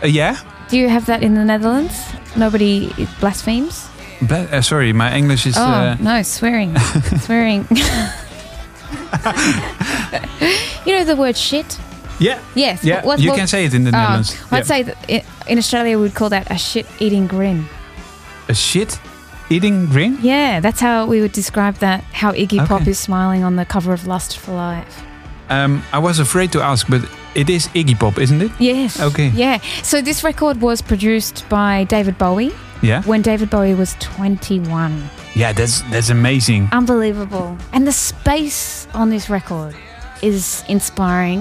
[SPEAKER 4] Uh, yeah.
[SPEAKER 5] Do you have that in the Netherlands? Nobody blasphemes.
[SPEAKER 4] Bla- uh, sorry, my English is.
[SPEAKER 5] Oh
[SPEAKER 4] uh,
[SPEAKER 5] no, swearing,
[SPEAKER 4] *laughs*
[SPEAKER 5] swearing. you know the word shit.
[SPEAKER 4] yeah.
[SPEAKER 5] Yes.
[SPEAKER 4] Yeah.
[SPEAKER 5] What-
[SPEAKER 4] you
[SPEAKER 5] what-
[SPEAKER 4] can say it in the
[SPEAKER 5] Oh,
[SPEAKER 4] Netherlands.
[SPEAKER 5] I'd
[SPEAKER 4] Yeah.
[SPEAKER 5] say that i- in Australia we'd call that a shit-eating grin.
[SPEAKER 4] a shit eating green.
[SPEAKER 5] Yeah, that's how we would describe that. How Iggy Pop
[SPEAKER 4] Okay.
[SPEAKER 5] is smiling on the cover of Lust for Life.
[SPEAKER 4] Um, I was afraid to ask, but it is Iggy Pop, isn't it?
[SPEAKER 5] Yes.
[SPEAKER 4] Okay.
[SPEAKER 5] Yeah. So this record was produced by David Bowie
[SPEAKER 4] Yeah.
[SPEAKER 5] when David Bowie was 21.
[SPEAKER 4] Yeah, that's that's amazing.
[SPEAKER 5] Unbelievable. And the space on this record is inspiring.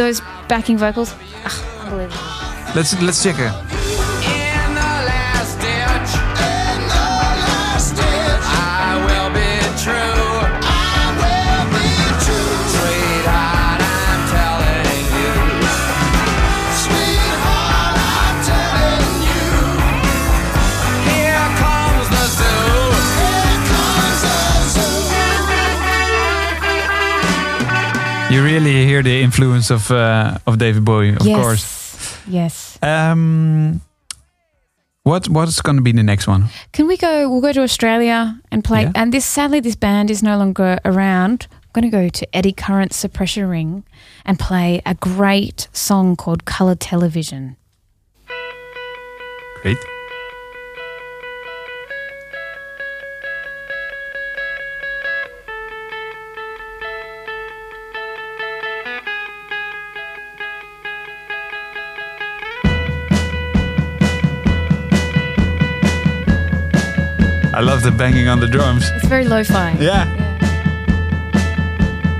[SPEAKER 5] Those backing vocals, ah, unbelievable.
[SPEAKER 4] Let's let's check it. You really hear the influence of uh, of David Bowie, of
[SPEAKER 5] yes.
[SPEAKER 4] course.
[SPEAKER 5] Yes.
[SPEAKER 4] Um, what what's going to be the next one?
[SPEAKER 5] Can we go? We'll go to Australia and play.
[SPEAKER 4] Yeah.
[SPEAKER 5] And this, sadly, this band is no longer around. I'm going to go to Eddie Current's Suppressor Ring and play a great song called Colour Television.
[SPEAKER 4] Great. I love the banging on the drums.
[SPEAKER 5] It's very lo-fi.
[SPEAKER 4] Yeah.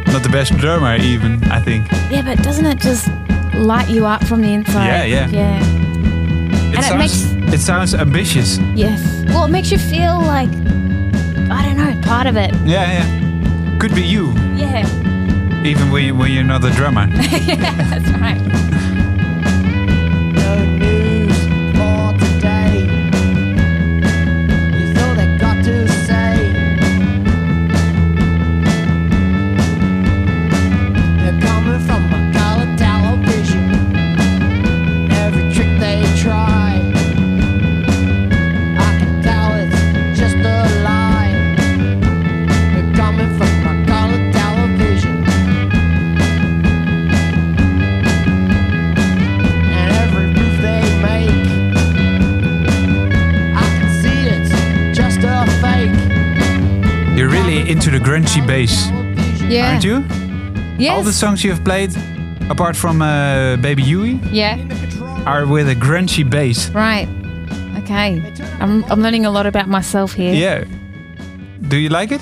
[SPEAKER 4] Not the best drummer, even, I think.
[SPEAKER 5] Yeah, but doesn't it just light you up from the inside?
[SPEAKER 4] Yeah, yeah.
[SPEAKER 5] Yeah.
[SPEAKER 4] It
[SPEAKER 5] And it
[SPEAKER 4] sounds, it sounds ambitious.
[SPEAKER 5] Yes. Well, it makes you feel like I don't know, part of it.
[SPEAKER 4] Yeah, yeah. Could be you,
[SPEAKER 5] Yeah.
[SPEAKER 4] even when, you, when you're not a
[SPEAKER 5] *laughs*
[SPEAKER 4] drummer.
[SPEAKER 5] That's right.
[SPEAKER 8] television. and every move they make. I can see it's just a fake.
[SPEAKER 4] You're really into the grungy bass,
[SPEAKER 5] Yeah.
[SPEAKER 4] aren't you?
[SPEAKER 5] Yes.
[SPEAKER 4] All the songs you have played, apart from uh, Baby Yui,
[SPEAKER 5] yeah.
[SPEAKER 4] are with a grungy bass.
[SPEAKER 5] Right. Okay. I'm, I'm learning a lot about myself here.
[SPEAKER 4] Yeah. Do you like it?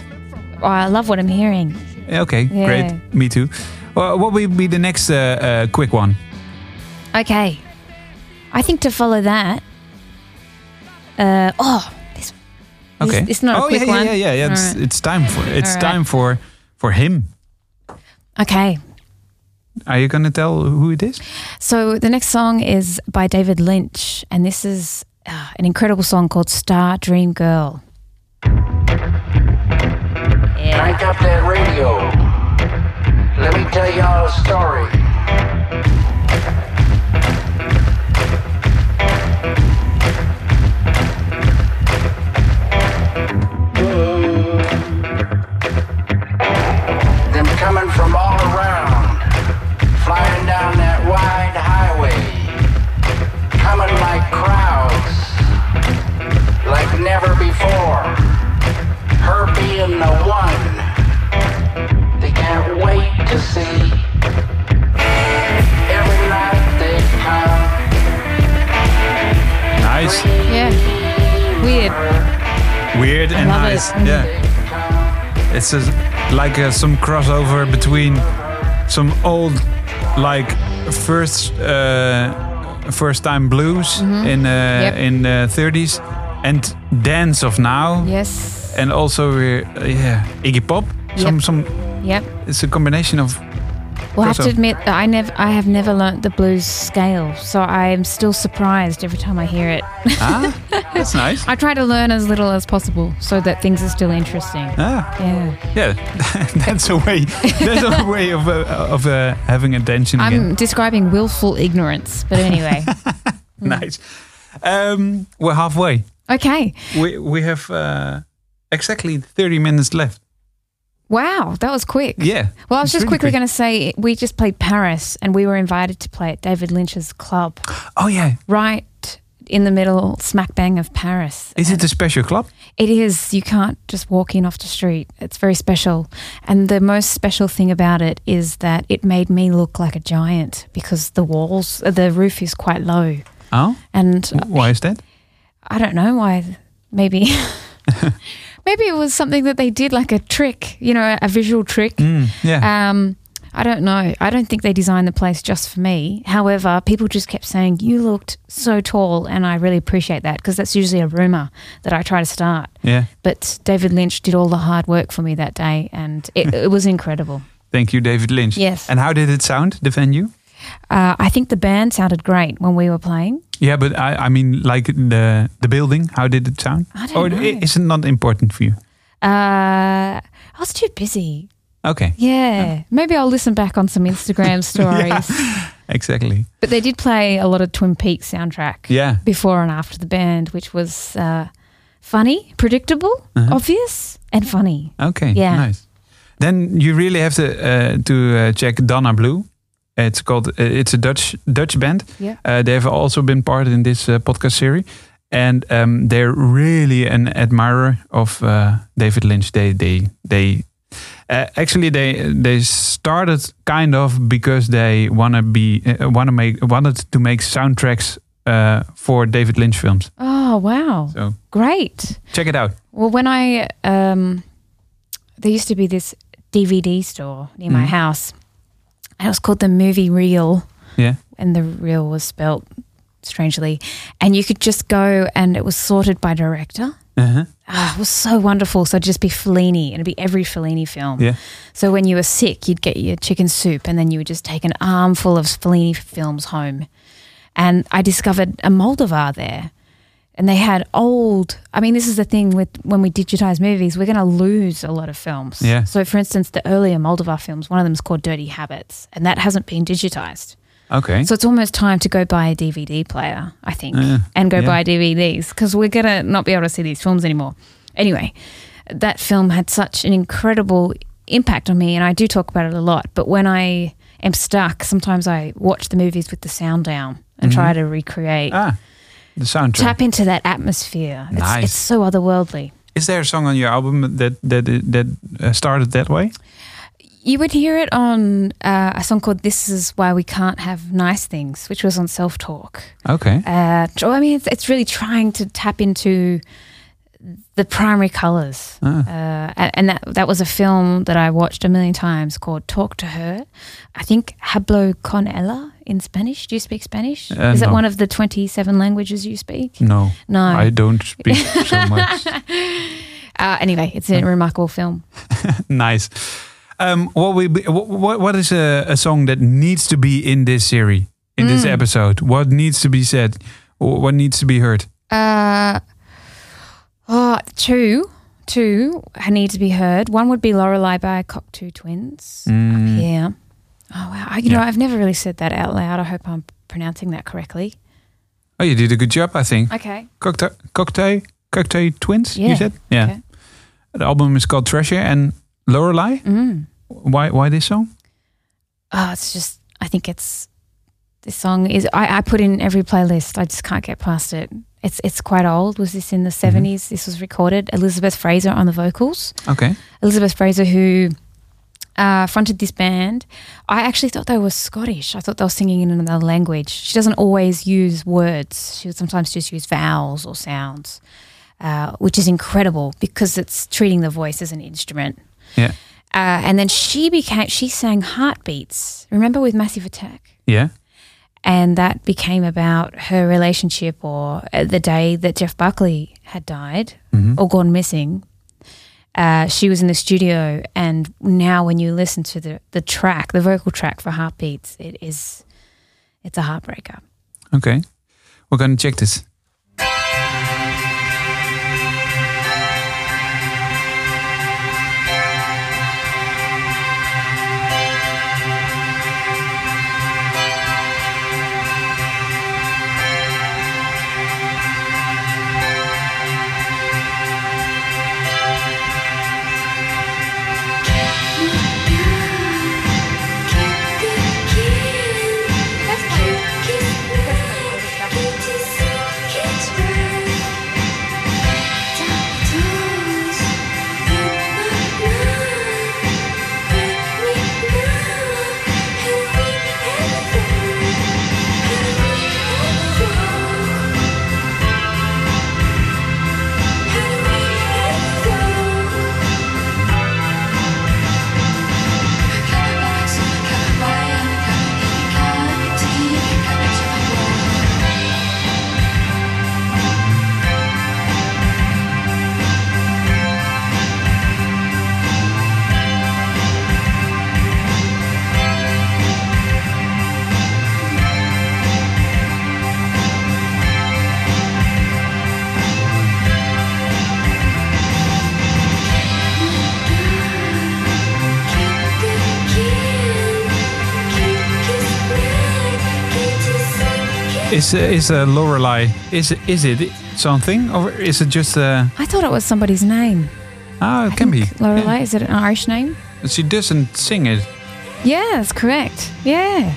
[SPEAKER 5] Oh, I love what I'm hearing.
[SPEAKER 4] Okay,
[SPEAKER 5] Yeah.
[SPEAKER 4] great. Me too. Well, what will be the next uh, uh, quick one?
[SPEAKER 5] Okay. I think to follow that. Uh, oh, this
[SPEAKER 4] Okay.
[SPEAKER 5] it's not a
[SPEAKER 4] oh,
[SPEAKER 5] quick
[SPEAKER 4] yeah, yeah,
[SPEAKER 5] one.
[SPEAKER 4] Yeah, yeah, yeah. It's,
[SPEAKER 5] Alright.
[SPEAKER 4] it's time for it's
[SPEAKER 5] Alright.
[SPEAKER 4] time for for him.
[SPEAKER 5] Okay.
[SPEAKER 4] Are you gonna tell who it is?
[SPEAKER 5] So the next song is by David Lynch, and this is uh, an incredible song called Star Dream Girl.
[SPEAKER 9] Crank up that radio. Let me tell y'all a story. Them coming from all around, flying down that wide highway, coming like crowds,
[SPEAKER 4] It's a, like uh some crossover between some old, like first uh, first time blues in uh,
[SPEAKER 5] Mm-hmm. Yep.
[SPEAKER 4] in the 30s and dance of now,
[SPEAKER 5] Yes.
[SPEAKER 4] and also we're, uh, yeah Iggy Pop. Some
[SPEAKER 5] Yep.
[SPEAKER 4] some
[SPEAKER 5] Yep.
[SPEAKER 4] it's a combination of
[SPEAKER 5] Well, I have
[SPEAKER 4] Crossover.
[SPEAKER 5] to admit that I never, I have never learnt the blues scale, so I am still surprised every time I hear it. *laughs*
[SPEAKER 4] ah that's nice
[SPEAKER 5] I try to learn as little as possible so that things are still interesting.
[SPEAKER 4] ah.
[SPEAKER 5] Yeah,
[SPEAKER 4] Yeah, *laughs* that's a way. That's
[SPEAKER 5] *laughs*
[SPEAKER 4] a way of uh, of uh, having attention
[SPEAKER 5] I'm
[SPEAKER 4] again.
[SPEAKER 5] describing willful ignorance, but
[SPEAKER 4] *laughs*
[SPEAKER 5] anyway,
[SPEAKER 4] Nice. Um, we're halfway.
[SPEAKER 5] okay.
[SPEAKER 4] We we have uh, exactly thirty minutes left.
[SPEAKER 5] Wow, that was quick.
[SPEAKER 4] Yeah.
[SPEAKER 5] Well, I was
[SPEAKER 4] it's
[SPEAKER 5] just
[SPEAKER 4] really
[SPEAKER 5] quickly
[SPEAKER 4] quick.
[SPEAKER 5] going to say we just played Paris and we were invited to play at David Lynch's club
[SPEAKER 4] Oh yeah,
[SPEAKER 5] right in the middle, smack bang of Paris.
[SPEAKER 4] is it a special club?
[SPEAKER 5] It is. You can't just walk in off the street. It's very special. And the most special thing about it is that it made me look like a giant because the walls, uh, the roof is quite low.
[SPEAKER 4] Oh,
[SPEAKER 5] And
[SPEAKER 4] wh- why is that?
[SPEAKER 5] I don't know why. Maybe, *laughs* maybe it was something that they did like a trick, you know, a visual trick.
[SPEAKER 4] Mm, yeah.
[SPEAKER 5] Um, I don't know. I don't think they designed the place just for me. However, people just kept saying, You looked so tall. And I really appreciate that because that's usually a rumor that I try to start.
[SPEAKER 4] yeah.
[SPEAKER 5] But David Lynch did all the hard work for me that day, and it, it was incredible.
[SPEAKER 4] Thank you, David Lynch.
[SPEAKER 5] Yes.
[SPEAKER 4] And how did it sound? The venue?
[SPEAKER 5] Uh, I think the band sounded great when we were playing.
[SPEAKER 4] Yeah, but I, I mean, like the the building. How did Oh, it sound?
[SPEAKER 5] I don't
[SPEAKER 4] or
[SPEAKER 5] know.
[SPEAKER 4] i- is it not important for you?
[SPEAKER 5] Uh, I was too busy.
[SPEAKER 4] Okay.
[SPEAKER 5] Yeah, maybe I'll listen back on some Instagram stories.
[SPEAKER 4] Exactly.
[SPEAKER 5] But they did play a lot of Twin Peaks soundtrack.
[SPEAKER 4] Yeah.
[SPEAKER 5] before and after the band, which was uh, funny, predictable, obvious, and funny.
[SPEAKER 4] Okay.
[SPEAKER 5] Yeah.
[SPEAKER 4] Nice. Then you really have to uh, to uh, check Donna Blue. It's called. Uh, it's a Dutch Dutch band.
[SPEAKER 5] Yeah.
[SPEAKER 4] Uh, they have also been part in this uh, podcast series, and um, they're really an admirer of uh, David Lynch. They they they. Uh, actually, they they started kind of because they wanna be uh, wanna make wanted to make soundtracks uh, for David Lynch films.
[SPEAKER 5] Oh, wow.
[SPEAKER 4] So
[SPEAKER 5] Great.
[SPEAKER 4] check it out.
[SPEAKER 5] Well, when I, um, there used to be this DVD store near my house, and it was called the Movie Reel,
[SPEAKER 4] Yeah.
[SPEAKER 5] and the reel was spelt strangely. And you could just go and it was sorted by director.
[SPEAKER 4] Uh-huh.
[SPEAKER 5] Ah, it was so wonderful. So it'd just be Fellini, and it'd be every Fellini film.
[SPEAKER 4] Yeah.
[SPEAKER 5] So when you were sick, you'd get your chicken soup, and then you would just take an armful of Fellini films home. And I discovered a Moldavar there, and they had old. I mean, this is the thing with when we digitize movies, we're going to lose a lot of films.
[SPEAKER 4] Yeah.
[SPEAKER 5] So, for instance, the earlier Moldavar films, one of them is called Dirty Habits, and that hasn't been digitized.
[SPEAKER 4] Okay.
[SPEAKER 5] So it's almost time to go buy a DVD player, I think,
[SPEAKER 4] Yeah,
[SPEAKER 5] and go
[SPEAKER 4] yeah.
[SPEAKER 5] buy DVDs because we're going to not be able to see these films anymore. Anyway, that film had such an incredible impact on me, and I do talk about it a lot. But when I am stuck, sometimes I watch the movies with the sound down and try to recreate,
[SPEAKER 4] Mm-hmm. ah, the soundtrack.
[SPEAKER 5] tap into that atmosphere. It's,
[SPEAKER 4] Nice.
[SPEAKER 5] it's so otherworldly.
[SPEAKER 4] Is there a song on your album that that that uh, started that way?
[SPEAKER 5] You would hear it on uh, a song called This Is Why We Can't Have Nice Things, which was on Self Talk.
[SPEAKER 4] Okay.
[SPEAKER 5] uh, tr- I mean, it's, it's really trying to tap into the primary colors.
[SPEAKER 4] Ah.
[SPEAKER 5] Uh, a- and that, that was a film that I watched a million times called Talk to Her. I think Hablo con ella in Spanish. Do you speak Spanish?
[SPEAKER 4] Uh,
[SPEAKER 5] Is it
[SPEAKER 4] no.
[SPEAKER 5] one of the 27 languages you speak?
[SPEAKER 4] No,
[SPEAKER 5] No.
[SPEAKER 4] I don't speak
[SPEAKER 5] *laughs*
[SPEAKER 4] so much.
[SPEAKER 5] Uh, anyway, it's
[SPEAKER 4] Mm.
[SPEAKER 5] a remarkable film.
[SPEAKER 4] nice. Um, what we what what is a, a song that needs to be in this series in this
[SPEAKER 5] Mm.
[SPEAKER 4] episode? What needs to be said? Wh- What needs to be heard?
[SPEAKER 5] Uh, oh, two, two need to be heard. One would be Lorelei by Cocteau Twins up here. Oh wow! I, you know,
[SPEAKER 4] Yeah.
[SPEAKER 5] I've never really said that out loud. I hope I'm pronouncing that correctly.
[SPEAKER 4] Oh, you did a good job, I think.
[SPEAKER 5] Okay.
[SPEAKER 4] Cocktail, cocktail, cocktail twins. You
[SPEAKER 5] Yeah.
[SPEAKER 4] said, yeah.
[SPEAKER 5] Okay.
[SPEAKER 4] The album is called Treasure and Lorelei.
[SPEAKER 5] Mm.
[SPEAKER 4] Why why this song?
[SPEAKER 5] Oh, it's just. I think it's this song is. I, I put in every playlist. I just can't get past it. It's it's quite old. Was this in the 70s This was recorded. Elizabeth Fraser on the vocals.
[SPEAKER 4] Okay.
[SPEAKER 5] Elizabeth Fraser, who uh, fronted this band, I actually thought they were Scottish. I thought they were singing in another language. She doesn't always use words, she would sometimes just use vowels or sounds, uh, which is incredible because it's treating the voice as an instrument.
[SPEAKER 4] Yeah.
[SPEAKER 5] Uh, and then she became she sang Heartbeats. Remember with Massive Attack,
[SPEAKER 4] Yeah.
[SPEAKER 5] and that became about her relationship or uh, the day that Jeff Buckley had died
[SPEAKER 4] Mm-hmm.
[SPEAKER 5] or gone missing. Uh, she was in the studio, and now when you listen to the the track, the vocal track for Heartbeats, it is it's a heartbreaker.
[SPEAKER 4] Okay. We're going to check this. Is uh, is uh, Lorelai? Is is it something or is it just? Uh,
[SPEAKER 5] I thought it was somebody's name.
[SPEAKER 4] oh, it can be.
[SPEAKER 5] Lorelei. Is it an Irish name?
[SPEAKER 4] Yeah. She doesn't sing it.
[SPEAKER 5] Yeah, that's correct. Yeah.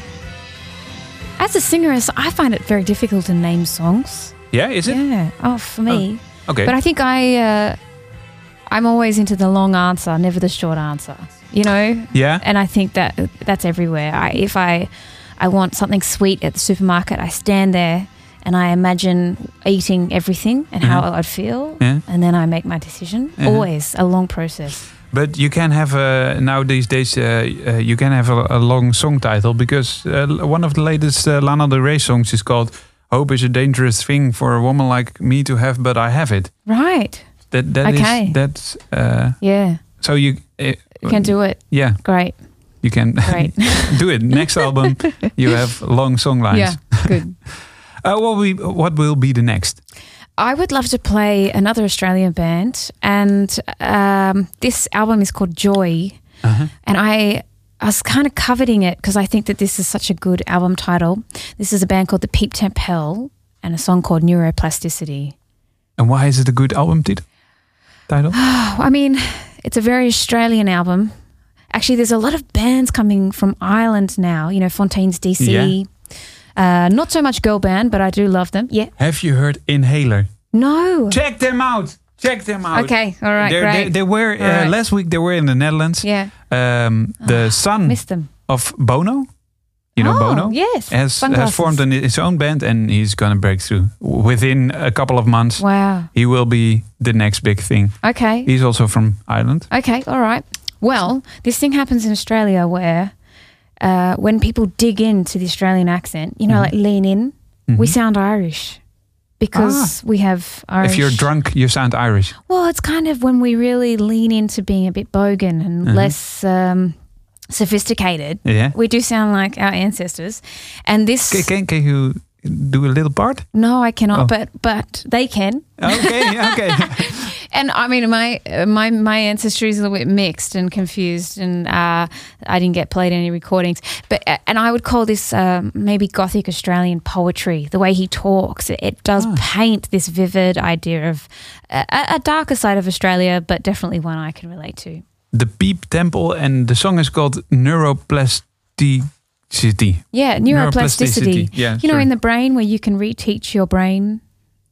[SPEAKER 5] As a singeress, I find it very difficult to name songs.
[SPEAKER 4] Yeah, is it?
[SPEAKER 5] Yeah. Oh, for me.
[SPEAKER 4] Okay.
[SPEAKER 5] But I think I, uh, I'm always into the long answer, never the short answer. You know.
[SPEAKER 4] yeah.
[SPEAKER 5] And I think that that's everywhere. I, if I, I want something sweet at the supermarket, I stand there and I imagine eating everything and how I'd feel,
[SPEAKER 4] Mm-hmm. Yeah. Mm-hmm.
[SPEAKER 5] and then I make my decision.
[SPEAKER 4] Yeah.
[SPEAKER 5] Always a long process.
[SPEAKER 4] But you can have uh, now these days uh, uh, you can have a, a long song title because uh, l- one of the latest uh, Lana Del Rey songs is called "Hope is a dangerous thing for a woman like me to have, but I have it."
[SPEAKER 5] Right.
[SPEAKER 4] That that is-
[SPEAKER 5] Okay.
[SPEAKER 4] that's uh,
[SPEAKER 5] Yeah.
[SPEAKER 4] so you uh,
[SPEAKER 5] You can do it.
[SPEAKER 4] yeah *laughs*
[SPEAKER 5] Great.
[SPEAKER 4] you can
[SPEAKER 5] Great.
[SPEAKER 4] *laughs*
[SPEAKER 5] *laughs*
[SPEAKER 4] do it. Next album you have long song lines.
[SPEAKER 5] Yeah. Good.
[SPEAKER 4] Uh, what we what will be the next?
[SPEAKER 5] I would love to play another Australian band, and um, this album is called Joy,
[SPEAKER 4] Uh-huh.
[SPEAKER 5] and I. I was kind of coveting it because I think that this is such a good album title. This is a band called The Peep Temp Hell and a song called Neuroplasticity.
[SPEAKER 4] And why is it a good album tit- title?
[SPEAKER 5] Oh, I mean, it's a very Australian album. Actually, there's a lot of bands coming from Ireland now, you know, Fontaine's DC. Uh, not so much girl band, but I do love them. Yeah.
[SPEAKER 4] have you heard Inhaler?
[SPEAKER 5] No.
[SPEAKER 4] Check them out. Check them out.
[SPEAKER 5] Okay. All right.
[SPEAKER 4] They're-
[SPEAKER 5] great.
[SPEAKER 4] They, they were uh,
[SPEAKER 5] All right.
[SPEAKER 4] last week. They were in the Netherlands.
[SPEAKER 5] yeah. Ah,
[SPEAKER 4] Um, the son
[SPEAKER 5] Missed them.
[SPEAKER 4] of Bono, you know
[SPEAKER 5] Oh,
[SPEAKER 4] Bono, has,
[SPEAKER 5] yes.
[SPEAKER 4] has
[SPEAKER 5] Sunglasses.
[SPEAKER 4] formed an, his own band, and he's gonna break through within a couple of months.
[SPEAKER 5] Wow.
[SPEAKER 4] He will be the next big thing.
[SPEAKER 5] Okay.
[SPEAKER 4] He's also from Ireland.
[SPEAKER 5] Okay. All right. Well, this thing happens in Australia where uh, when people dig into the Australian accent, you know,
[SPEAKER 4] Mm-hmm.
[SPEAKER 5] like lean in, we sound Irish because we have Irish.
[SPEAKER 4] Ah. If you're drunk, you sound Irish.
[SPEAKER 5] Well, it's kind of when we really lean into being a bit bogan and less um, sophisticated.
[SPEAKER 4] Uh-huh. Yeah.
[SPEAKER 5] We do sound like our ancestors. And this.
[SPEAKER 4] Can, can, can you do a little part?
[SPEAKER 5] No, I cannot,
[SPEAKER 4] Oh.
[SPEAKER 5] but but they can.
[SPEAKER 4] Okay, *laughs* okay.
[SPEAKER 5] And I mean, my uh, my my ancestry is a little bit mixed and confused, and uh, I didn't get played any recordings. But uh, and I would call this um, maybe Gothic Australian poetry. The way he talks, it, it does paint this vivid idea of a, a a darker side of Australia, but definitely one I can relate to.
[SPEAKER 4] the Peep Temple, and the song is called Neuroplasticity.
[SPEAKER 5] Yeah,
[SPEAKER 4] Neuroplasticity,
[SPEAKER 5] neuroplasticity.
[SPEAKER 4] yeah,
[SPEAKER 5] you know,
[SPEAKER 4] sure.
[SPEAKER 5] in the brain where you can reteach your brain.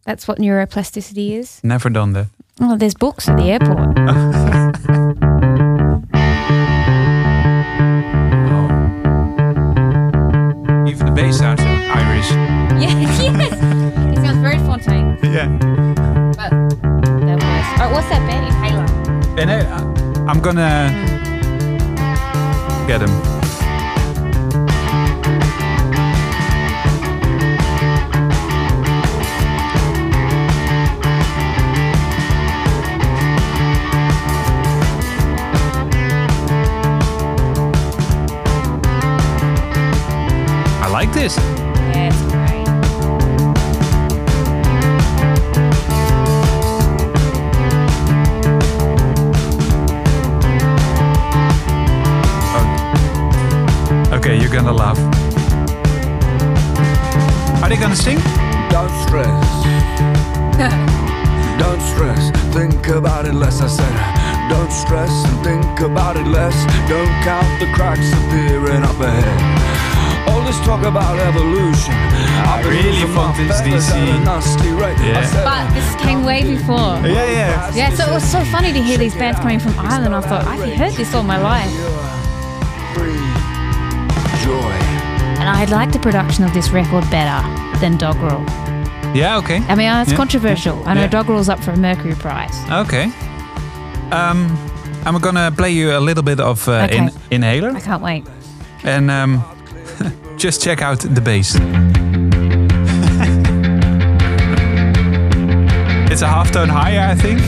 [SPEAKER 5] That's what neuroplasticity is.
[SPEAKER 4] Never done that.
[SPEAKER 5] Oh, there's books at the airport. *laughs*
[SPEAKER 4] Even the bass sounds Irish.
[SPEAKER 5] yes, *laughs* yes. It sounds very Fontaine.
[SPEAKER 4] Yeah.
[SPEAKER 5] But that was. Oh, what's that band? Inhaler.
[SPEAKER 4] And I, I- eh, I'm I'm gonna get him. I like this.
[SPEAKER 5] Yeah, it's great.
[SPEAKER 4] Okay, you're gonna laugh. Are they gonna sing?
[SPEAKER 2] Don't stress. Don't stress. Think about it less. I said, don't stress and think about it less. Don't count the cracks appearing up ahead. All this talk about evolution. I,
[SPEAKER 4] really want this DC. Yeah.
[SPEAKER 5] But this came way before.
[SPEAKER 4] Yeah, yeah.
[SPEAKER 5] Yeah, so it was so funny to hear these bands coming from Ireland. I thought, I've heard this all my life.
[SPEAKER 2] Joy.
[SPEAKER 5] And I like the production of this record better than Doggerel.
[SPEAKER 4] Yeah, okay.
[SPEAKER 5] I mean, uh, it's
[SPEAKER 4] Yeah.
[SPEAKER 5] controversial. I know
[SPEAKER 4] Yeah.
[SPEAKER 5] Doggerel's up for a Mercury Prize.
[SPEAKER 4] Okay. Um, I'm gonna play you a little bit of uh,
[SPEAKER 5] Okay.
[SPEAKER 4] in- Inhaler
[SPEAKER 5] I can't wait.
[SPEAKER 4] and um, *laughs* just check out the bass. *laughs* it's a half tone higher, I think.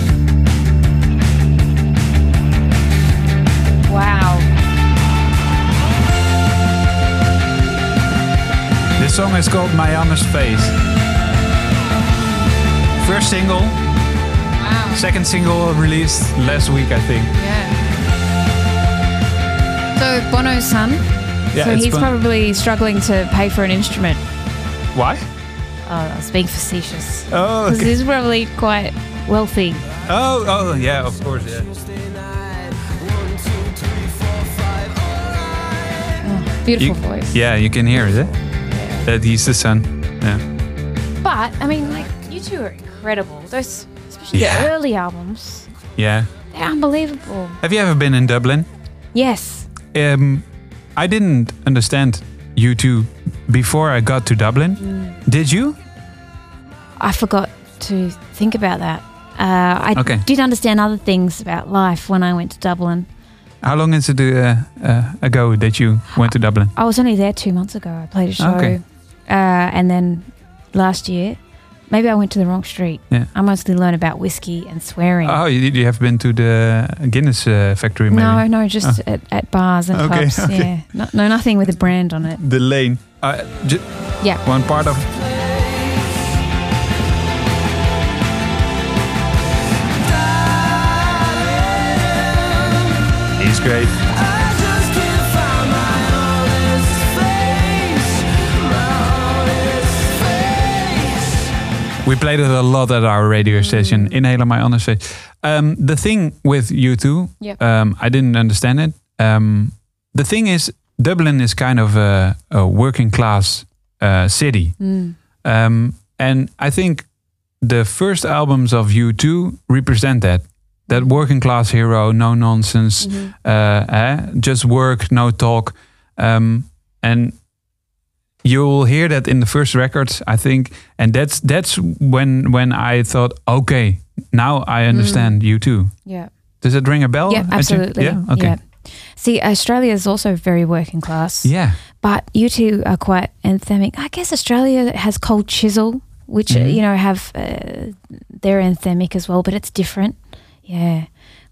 [SPEAKER 5] Wow.
[SPEAKER 4] This song is called My Honest Face. First single,
[SPEAKER 5] Wow.
[SPEAKER 4] second single released last week, I think.
[SPEAKER 5] Yeah. So Bono's son.
[SPEAKER 4] Yeah,
[SPEAKER 5] so
[SPEAKER 4] it's
[SPEAKER 5] he's
[SPEAKER 4] been-
[SPEAKER 5] probably struggling to pay for an instrument.
[SPEAKER 4] Why?
[SPEAKER 5] Oh, I was being facetious.
[SPEAKER 4] Oh,
[SPEAKER 5] Because
[SPEAKER 4] okay.
[SPEAKER 5] he's probably quite wealthy.
[SPEAKER 4] Oh, oh, yeah, of course, yeah.
[SPEAKER 5] Beautiful
[SPEAKER 4] You-
[SPEAKER 5] voice.
[SPEAKER 4] Yeah, you can hear it. Eh? That he's the son. Yeah.
[SPEAKER 5] But I mean, like you two are incredible. Those, especially
[SPEAKER 4] Yeah.
[SPEAKER 5] the early albums,
[SPEAKER 4] Yeah.
[SPEAKER 5] they're unbelievable.
[SPEAKER 4] Have you ever been in Dublin?
[SPEAKER 5] Yes.
[SPEAKER 4] Um, I didn't understand you two before I got to Dublin. Did you?
[SPEAKER 5] I forgot to think about that. Uh, I
[SPEAKER 4] Okay.
[SPEAKER 5] did understand other things about life when I went to Dublin.
[SPEAKER 4] How long is it uh, uh, ago that you went to Dublin?
[SPEAKER 5] I was only there two months ago. I played a show,
[SPEAKER 4] Okay.
[SPEAKER 5] uh, and then last year, maybe I went to the wrong street.
[SPEAKER 4] Yeah.
[SPEAKER 5] I mostly learned about whiskey and swearing.
[SPEAKER 4] Oh, you, you have been to the Guinness uh, factory, maybe?
[SPEAKER 5] no, no, just at, at bars and
[SPEAKER 4] Oh. Okay,
[SPEAKER 5] clubs.
[SPEAKER 4] *laughs* okay.
[SPEAKER 5] Yeah, no, no, nothing with a brand on it.
[SPEAKER 4] The lane. Uh, ju-
[SPEAKER 5] Yeah.
[SPEAKER 4] One part of. He's great. We played it a lot at our radio station. Inhaler, my honest face. Um, the thing with you two,
[SPEAKER 5] Yep.
[SPEAKER 4] um, I didn't understand it. Um, the thing is, Dublin is kind of a, a working class uh, city.
[SPEAKER 5] Mm.
[SPEAKER 4] Um, and I think the first albums of U2 represent that. That working class hero, no nonsense,
[SPEAKER 5] Mm-hmm.
[SPEAKER 4] uh, eh, just work, no talk. Um, and you'll hear that in the first records, I think. And that's that's when when I thought, okay, now I understand U2.
[SPEAKER 5] Yeah.
[SPEAKER 4] Does it ring a bell?
[SPEAKER 5] Mm-hmm. Yeah,
[SPEAKER 4] I think-
[SPEAKER 5] absolutely.
[SPEAKER 4] Oh, Yeah, okay.
[SPEAKER 5] Yeah. See, Australia is also very working class.
[SPEAKER 4] Yeah.
[SPEAKER 5] But you two are quite anthemic. I guess Australia has Cold Chisel, which,
[SPEAKER 4] Mm-hmm.
[SPEAKER 5] uh, you know, have, uh, they're anthemic as well, but it's different. Yeah.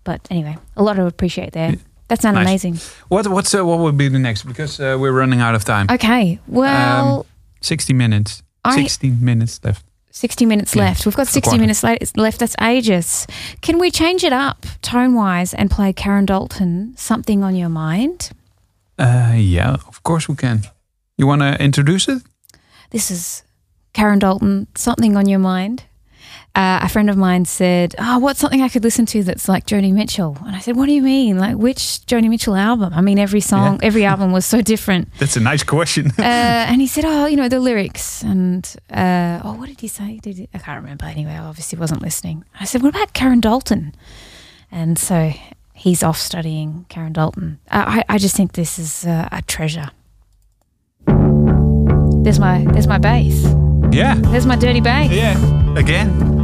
[SPEAKER 5] But anyway, a lot to appreciate there. That sounded
[SPEAKER 4] Nice.
[SPEAKER 5] amazing.
[SPEAKER 4] What what's uh, what would be the next? Because uh, we're running out of time.
[SPEAKER 5] Okay. Well,
[SPEAKER 4] Um, sixty minutes.
[SPEAKER 5] I-
[SPEAKER 4] Sixteen minutes left.
[SPEAKER 5] 60 minutes
[SPEAKER 4] yeah,
[SPEAKER 5] left. We've got 60
[SPEAKER 4] quarter.
[SPEAKER 5] minutes left. left. That's ages. Can we change it up tone wise and play Karen Dalton, Something on Your Mind?
[SPEAKER 4] Uh, yeah, of course we can. You want to introduce it?
[SPEAKER 5] this is Karen Dalton, something on your mind. Uh, a friend of mine said, Oh, what's something I could listen to that's like Joni Mitchell? And I said, What do you mean? Like, which Joni Mitchell album? I mean, every song,
[SPEAKER 4] Yeah.
[SPEAKER 5] every album was so different.
[SPEAKER 4] That's a nice question.
[SPEAKER 5] Uh, and he said, Oh, you know, the lyrics. And, uh, oh, what did he say? Did he, I can't remember. Anyway, I obviously wasn't listening. I said, What about Karen Dalton? And so he's off studying Karen Dalton. Uh, I, I, I just think this is uh, a treasure. There's my, there's my bass.
[SPEAKER 4] yeah,
[SPEAKER 5] There's my dirty bass.
[SPEAKER 4] yeah. Again.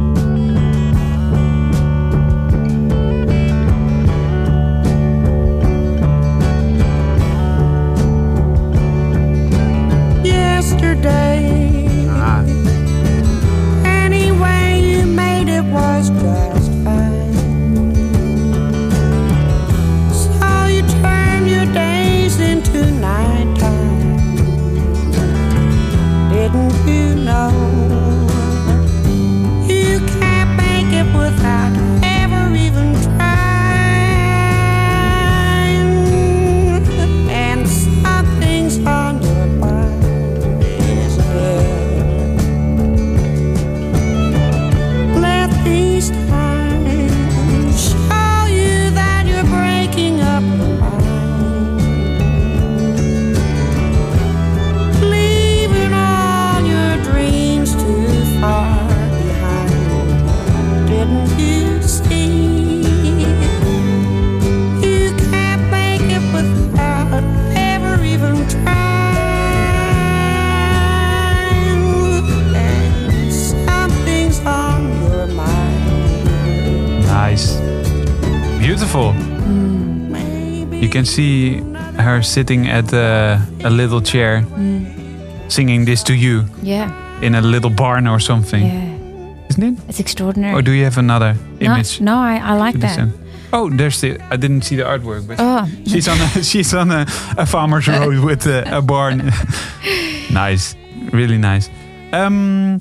[SPEAKER 5] Hmm.
[SPEAKER 4] You can see her sitting at uh, a little chair,
[SPEAKER 5] Hmm.
[SPEAKER 4] singing this to you
[SPEAKER 5] Yeah.
[SPEAKER 4] in a little barn or something,
[SPEAKER 5] Yeah.
[SPEAKER 4] isn't it?
[SPEAKER 5] It's extraordinary.
[SPEAKER 4] Or do you have another Oh, image?
[SPEAKER 5] No, no I, I like
[SPEAKER 4] to
[SPEAKER 5] that.
[SPEAKER 4] descend? Oh, there's the. I didn't see the artwork, but
[SPEAKER 5] Oh,
[SPEAKER 4] she's on a, *laughs* she's on a, a
[SPEAKER 5] *laughs*
[SPEAKER 4] farmer's road with a, a barn. nice, really nice. Um,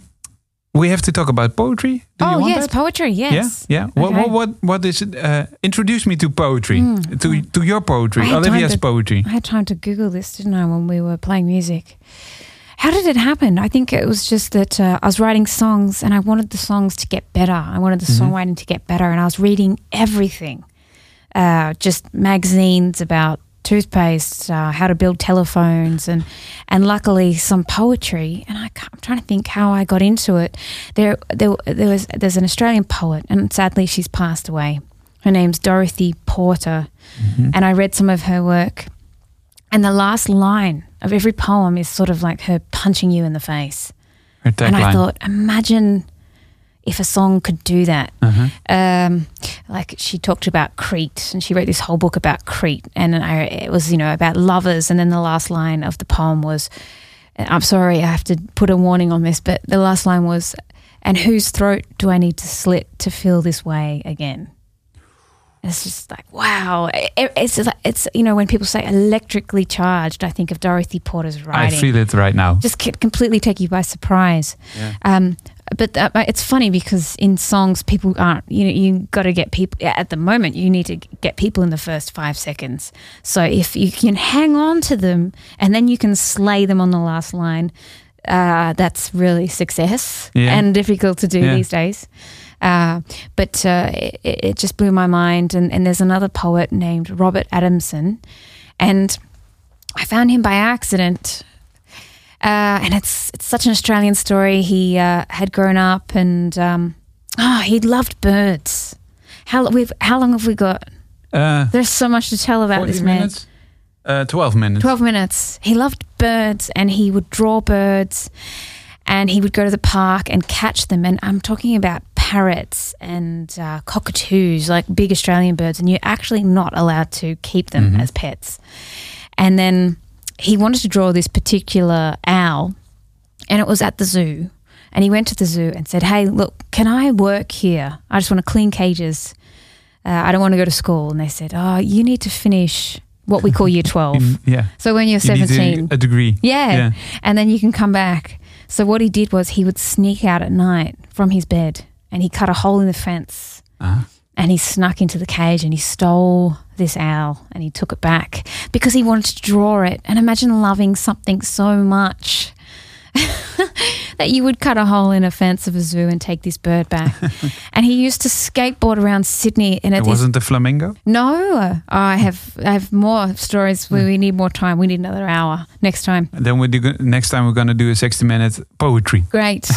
[SPEAKER 4] we have to talk about poetry. Do you
[SPEAKER 5] oh
[SPEAKER 4] want
[SPEAKER 5] yes,
[SPEAKER 4] that?
[SPEAKER 5] poetry. Yes.
[SPEAKER 4] Yeah, yeah. What,
[SPEAKER 5] Okay. Hmm.
[SPEAKER 4] what, what, what is it? Uh, introduce me to poetry, to to your poetry,
[SPEAKER 5] I don't
[SPEAKER 4] Olivia's
[SPEAKER 5] have-
[SPEAKER 4] poetry.
[SPEAKER 5] I had time to Google this, didn't I, when we were playing music? How did it happen? I think it was just that uh, I was writing songs and I wanted the songs to get better. I wanted
[SPEAKER 4] Mm-hmm.
[SPEAKER 5] the songwriting to get better, and I was reading everything uh, just magazines about toothpaste, uh, how to build telephones, and and luckily some poetry. And I can't, I'm trying to think how I got into it. There, there, there was there's an Australian poet, and sadly she's passed away. Her name's Dorothy Porter, and I read some of her work. And the last line of every poem is sort of like her punching you in the face.
[SPEAKER 4] Her
[SPEAKER 5] and I
[SPEAKER 4] tagline.
[SPEAKER 5] thought, imagine if a song could do that
[SPEAKER 4] Uh-huh.
[SPEAKER 5] um, like she talked about Crete, and she wrote this whole book about Crete, and I, it was you know about lovers, and then the last line of the poem was, "I'm sorry, I have to put a warning on this, but the last line was, and whose throat do I need to slit to feel this way again?" And It's just like wow. It- It's just like, it's you know when people say electrically charged, I think of Dorothy Porter's
[SPEAKER 4] I
[SPEAKER 5] writing
[SPEAKER 4] feel it right now.
[SPEAKER 5] just c- completely take you by surprise. Um, but uh, it's funny because in songs, people aren't, you know, you got to get people at the moment, you need to g- get people in the first five seconds. So if you can hang on to them and then you can slay them on the last line, uh, that's really success
[SPEAKER 4] Yeah.
[SPEAKER 5] and difficult to do
[SPEAKER 4] Yeah.
[SPEAKER 5] these days. Uh, but uh, it, it just blew my mind. And, and there's another poet named Robert Adamson. And I found him by accident uh, and it's it's such an Australian story. He uh, had grown up, and um, oh, he loved birds. How we've how long have we got?
[SPEAKER 4] Uh,
[SPEAKER 5] There's so much to tell about this
[SPEAKER 4] Forty
[SPEAKER 5] man.
[SPEAKER 4] minutes. Uh, Twelve minutes.
[SPEAKER 5] 12 minutes. He loved birds and he would draw birds and he would go to the park and catch them. And I'm talking about parrots and uh, cockatoos, like big Australian birds, and you're actually not allowed to keep them
[SPEAKER 4] Mm-hmm.
[SPEAKER 5] as pets. And then he wanted to draw this particular owl and it was at the zoo. And he went to the zoo and said, Hey, look, can I work here? I just want to clean cages. Uh, I don't want to go to school. And they said, Oh, you need to finish what we
[SPEAKER 4] *laughs*
[SPEAKER 5] call year 12.
[SPEAKER 4] In- yeah.
[SPEAKER 5] So when you're
[SPEAKER 4] You need a-
[SPEAKER 5] 17.
[SPEAKER 4] a, degree.
[SPEAKER 5] yeah.
[SPEAKER 4] Yeah.
[SPEAKER 5] And then you can come back. So what he did was he would sneak out at night from his bed and he cut a hole in the fence
[SPEAKER 4] Ah.
[SPEAKER 5] and he snuck into the cage and he stole this owl and he took it back because he wanted to draw it. And imagine loving something so much *laughs* that you would cut a hole in a fence of a zoo and take this
[SPEAKER 4] *laughs*
[SPEAKER 5] bird back. and he used to skateboard around Sydney and
[SPEAKER 4] It
[SPEAKER 5] at his
[SPEAKER 4] wasn't a flamingo.
[SPEAKER 5] no, Oh, I have I have more stories. We, we need more time. We need another hour next time.
[SPEAKER 4] Then we do, go- next time we're gonna do a sixty-minute poetry.
[SPEAKER 5] Great,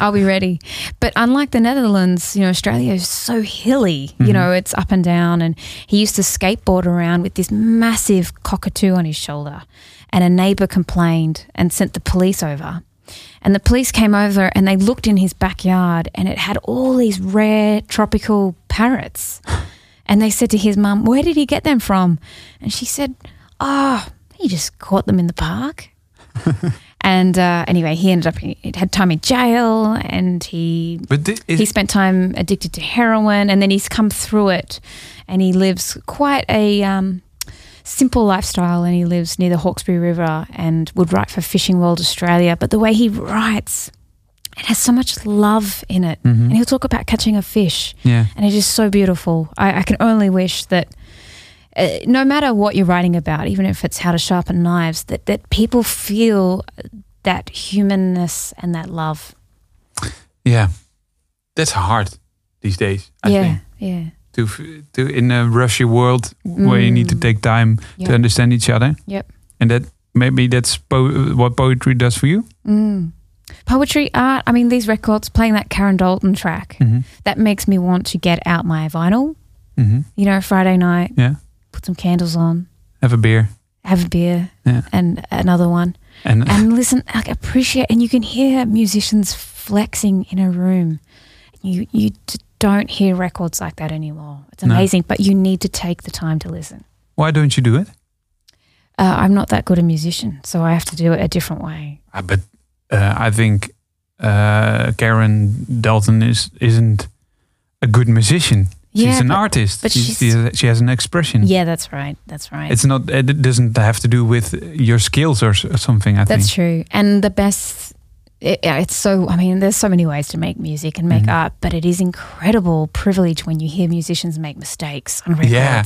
[SPEAKER 5] I'll be ready. But unlike the Netherlands, you know, Australia is so hilly. You know, it's up and down. And he used to skateboard around with this massive cockatoo on his shoulder. And a neighbor complained and sent the police over. And the police came over and they looked in his backyard, and it had all these rare tropical parrots. And they said to his mum, Where did he get them from? And she said, Oh, he just caught them in the park. and uh, anyway, he ended up, he had time in jail and he.
[SPEAKER 4] But thi-
[SPEAKER 5] he
[SPEAKER 4] is,
[SPEAKER 5] spent time addicted to heroin and then he's come through it and he lives quite a um, simple lifestyle and he lives near the Hawkesbury River and would write for Fishing World Australia. But the way he writes, it has so much love in it.
[SPEAKER 4] Mm-hmm.
[SPEAKER 5] And he'll talk about catching a fish
[SPEAKER 4] yeah.
[SPEAKER 5] and it's just so beautiful. I, I can only wish that uh, no matter what you're writing about, even if it's how to sharpen knives, that, that people feel that humanness and that love.
[SPEAKER 4] Yeah, that's hard these days. I
[SPEAKER 5] yeah,
[SPEAKER 4] think.
[SPEAKER 5] yeah,
[SPEAKER 4] To f- to in a rushy world where you need to
[SPEAKER 5] Mm.
[SPEAKER 4] take time
[SPEAKER 5] Yep.
[SPEAKER 4] to understand each other.
[SPEAKER 5] Yep.
[SPEAKER 4] And that maybe that's po- what poetry does for you.
[SPEAKER 5] Mm. Poetry, art, I mean, these records, playing that Karen Dalton track,
[SPEAKER 4] Mm-hmm.
[SPEAKER 5] that makes me want to get out my vinyl,
[SPEAKER 4] Mm-hmm.
[SPEAKER 5] you know, Friday night,
[SPEAKER 4] Yeah.
[SPEAKER 5] put some candles on,
[SPEAKER 4] Have a beer
[SPEAKER 5] have a beer
[SPEAKER 4] Yeah.
[SPEAKER 5] and another one.
[SPEAKER 4] and
[SPEAKER 5] and listen, like appreciate, and you can hear musicians flexing in a room. You you t- don't hear records like that anymore. It's
[SPEAKER 4] No.
[SPEAKER 5] amazing, but you need to take the time to listen.
[SPEAKER 4] Why don't you do it?
[SPEAKER 5] Uh, I'm not that good a musician, so I have to do it a different way.
[SPEAKER 4] Uh, but uh, I think uh, Karen Dalton is isn't a good musician.
[SPEAKER 5] Yeah,
[SPEAKER 4] she's an
[SPEAKER 5] but-
[SPEAKER 4] artist.
[SPEAKER 5] but
[SPEAKER 4] she,
[SPEAKER 5] she's-
[SPEAKER 4] she has- she has an expression.
[SPEAKER 5] Yeah, that's right. That's right.
[SPEAKER 4] It's not. It doesn't have to do with your skills or, s- or something. I think.
[SPEAKER 5] That's true. And the best, it, yeah, it's so, I mean, there's so many ways to make music and make
[SPEAKER 4] Mm.
[SPEAKER 5] art, but it is incredible privilege when you hear musicians make mistakes on records.
[SPEAKER 4] Yeah.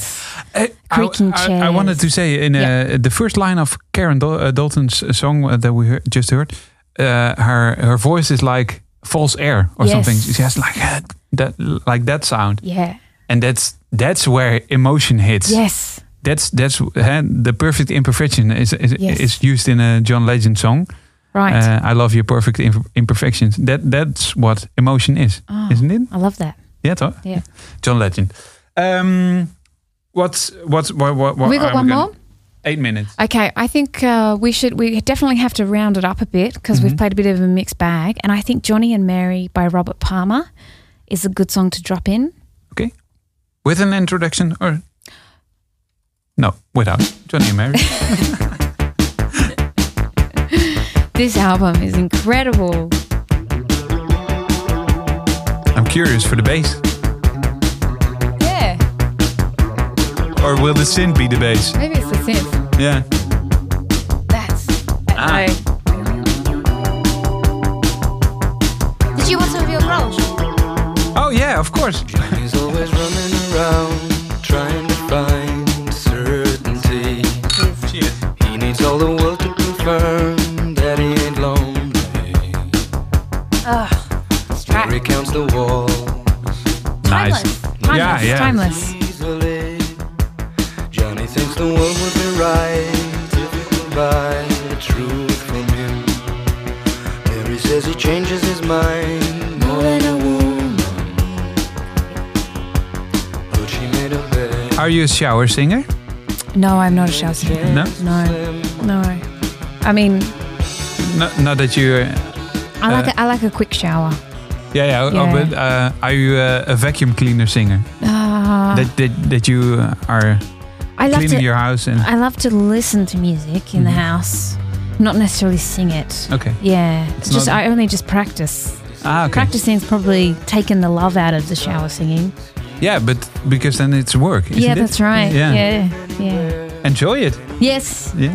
[SPEAKER 4] Uh, I,
[SPEAKER 5] Creaking
[SPEAKER 4] I- I wanted to say in uh,
[SPEAKER 5] Yeah.
[SPEAKER 4] the first line of Karen Dal- uh, Dalton's uh, song uh, that we heard, just heard, uh, her her voice is like false air or something.
[SPEAKER 5] Yes.
[SPEAKER 4] She has like uh, that like that sound,
[SPEAKER 5] Yeah.
[SPEAKER 4] and that's that's where emotion hits.
[SPEAKER 5] Yes.
[SPEAKER 4] That's that's uh, the perfect imperfection is is,
[SPEAKER 5] Yes.
[SPEAKER 4] is used in a John Legend song.
[SPEAKER 5] Right.
[SPEAKER 4] Uh, I love your perfect imp- imperfections. That that's what emotion is,
[SPEAKER 5] Oh,
[SPEAKER 4] isn't it?
[SPEAKER 5] I love that.
[SPEAKER 4] Yeah, toch? *laughs*
[SPEAKER 5] Yeah.
[SPEAKER 4] John Legend. Um, what's what's what what? what
[SPEAKER 5] we got
[SPEAKER 4] are
[SPEAKER 5] one
[SPEAKER 4] gonna-
[SPEAKER 5] more?
[SPEAKER 4] Eight minutes.
[SPEAKER 5] Okay, I think uh, we should. We definitely have to round it up a bit because
[SPEAKER 4] Mm-hmm.
[SPEAKER 5] we've played a bit of a mixed bag, and I think "Johnny and Mary" by Robert Palmer is a good song to drop in.
[SPEAKER 4] Okay. With an introduction or no, without Johnny and
[SPEAKER 5] *laughs*
[SPEAKER 4] Mary.
[SPEAKER 5] This album is incredible.
[SPEAKER 4] I'm curious for the bass,
[SPEAKER 5] Yeah,
[SPEAKER 4] or will the synth be the bass?
[SPEAKER 5] maybe it's the synth.
[SPEAKER 4] Yeah.
[SPEAKER 5] That's that
[SPEAKER 4] Ah.
[SPEAKER 5] no. Did you want some of your grunge?
[SPEAKER 4] Oh yeah, of course.
[SPEAKER 2] He's always running around trying to find certainty. He needs all the world to confirm that he ain't lonely.
[SPEAKER 5] track.
[SPEAKER 2] He counts the walls
[SPEAKER 4] Nice.
[SPEAKER 5] Timeless.
[SPEAKER 4] Yeah, yeah.
[SPEAKER 5] Timeless.
[SPEAKER 2] easily. Johnny thinks the world would be right if he could buy the truth from him. Mary says he changes his mind more than a woman. But she made a bet.
[SPEAKER 4] Are you a shower singer?
[SPEAKER 5] No, I'm not a shower singer.
[SPEAKER 4] No?
[SPEAKER 5] No, no. I mean,
[SPEAKER 4] No, not that you. uh,
[SPEAKER 5] I like a, I like a quick shower.
[SPEAKER 4] Yeah, yeah. oh,
[SPEAKER 5] Yeah.
[SPEAKER 4] but uh, are you uh, a vacuum cleaner singer?
[SPEAKER 5] Ah,
[SPEAKER 4] that, that that you uh, are
[SPEAKER 5] I love
[SPEAKER 4] cleaning
[SPEAKER 5] to.
[SPEAKER 4] your Mm-hmm. house and
[SPEAKER 5] I love to listen to music in the house, not necessarily sing it.
[SPEAKER 4] okay.
[SPEAKER 5] Yeah, it's just
[SPEAKER 4] not-
[SPEAKER 5] I only just practice.
[SPEAKER 4] Ah, okay.
[SPEAKER 5] Practicing's probably taken the love out of the shower singing.
[SPEAKER 4] Yeah, but because then it's work. Isn't
[SPEAKER 5] yeah,
[SPEAKER 4] it?
[SPEAKER 5] that's right.
[SPEAKER 4] Yeah.
[SPEAKER 5] Yeah. yeah,
[SPEAKER 4] Enjoy it.
[SPEAKER 5] Yes.
[SPEAKER 4] Yeah.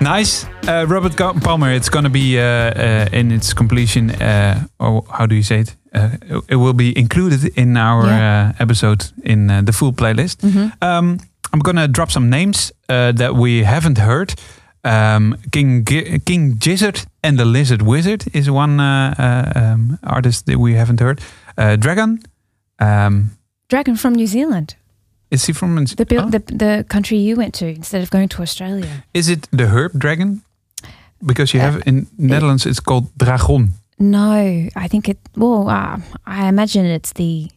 [SPEAKER 4] Nice, uh, Robert Ga- Palmer. It's gonna be uh, uh, in its completion, uh, or how do you say it? Uh, it- it will be included in our
[SPEAKER 5] Yeah. Mm-hmm.
[SPEAKER 4] uh, episode in uh, the full playlist. Um, I'm gonna drop some names uh, that we haven't heard. Um, King Gi- King Gizzard and the Lizard Wizard is one uh, uh, um, artist that we haven't heard. Uh, Dragon. Um,
[SPEAKER 5] Dragon from New Zealand,
[SPEAKER 4] is he from?
[SPEAKER 5] the, bil-
[SPEAKER 4] Oh.
[SPEAKER 5] the the country you went to instead of going
[SPEAKER 4] *laughs*
[SPEAKER 5] to Australia.
[SPEAKER 4] Is it the herb dragon? Because you
[SPEAKER 5] Eh,
[SPEAKER 4] have in Netherlands, it's called dragon.
[SPEAKER 5] No, I think it. Well, uh, I imagine it's the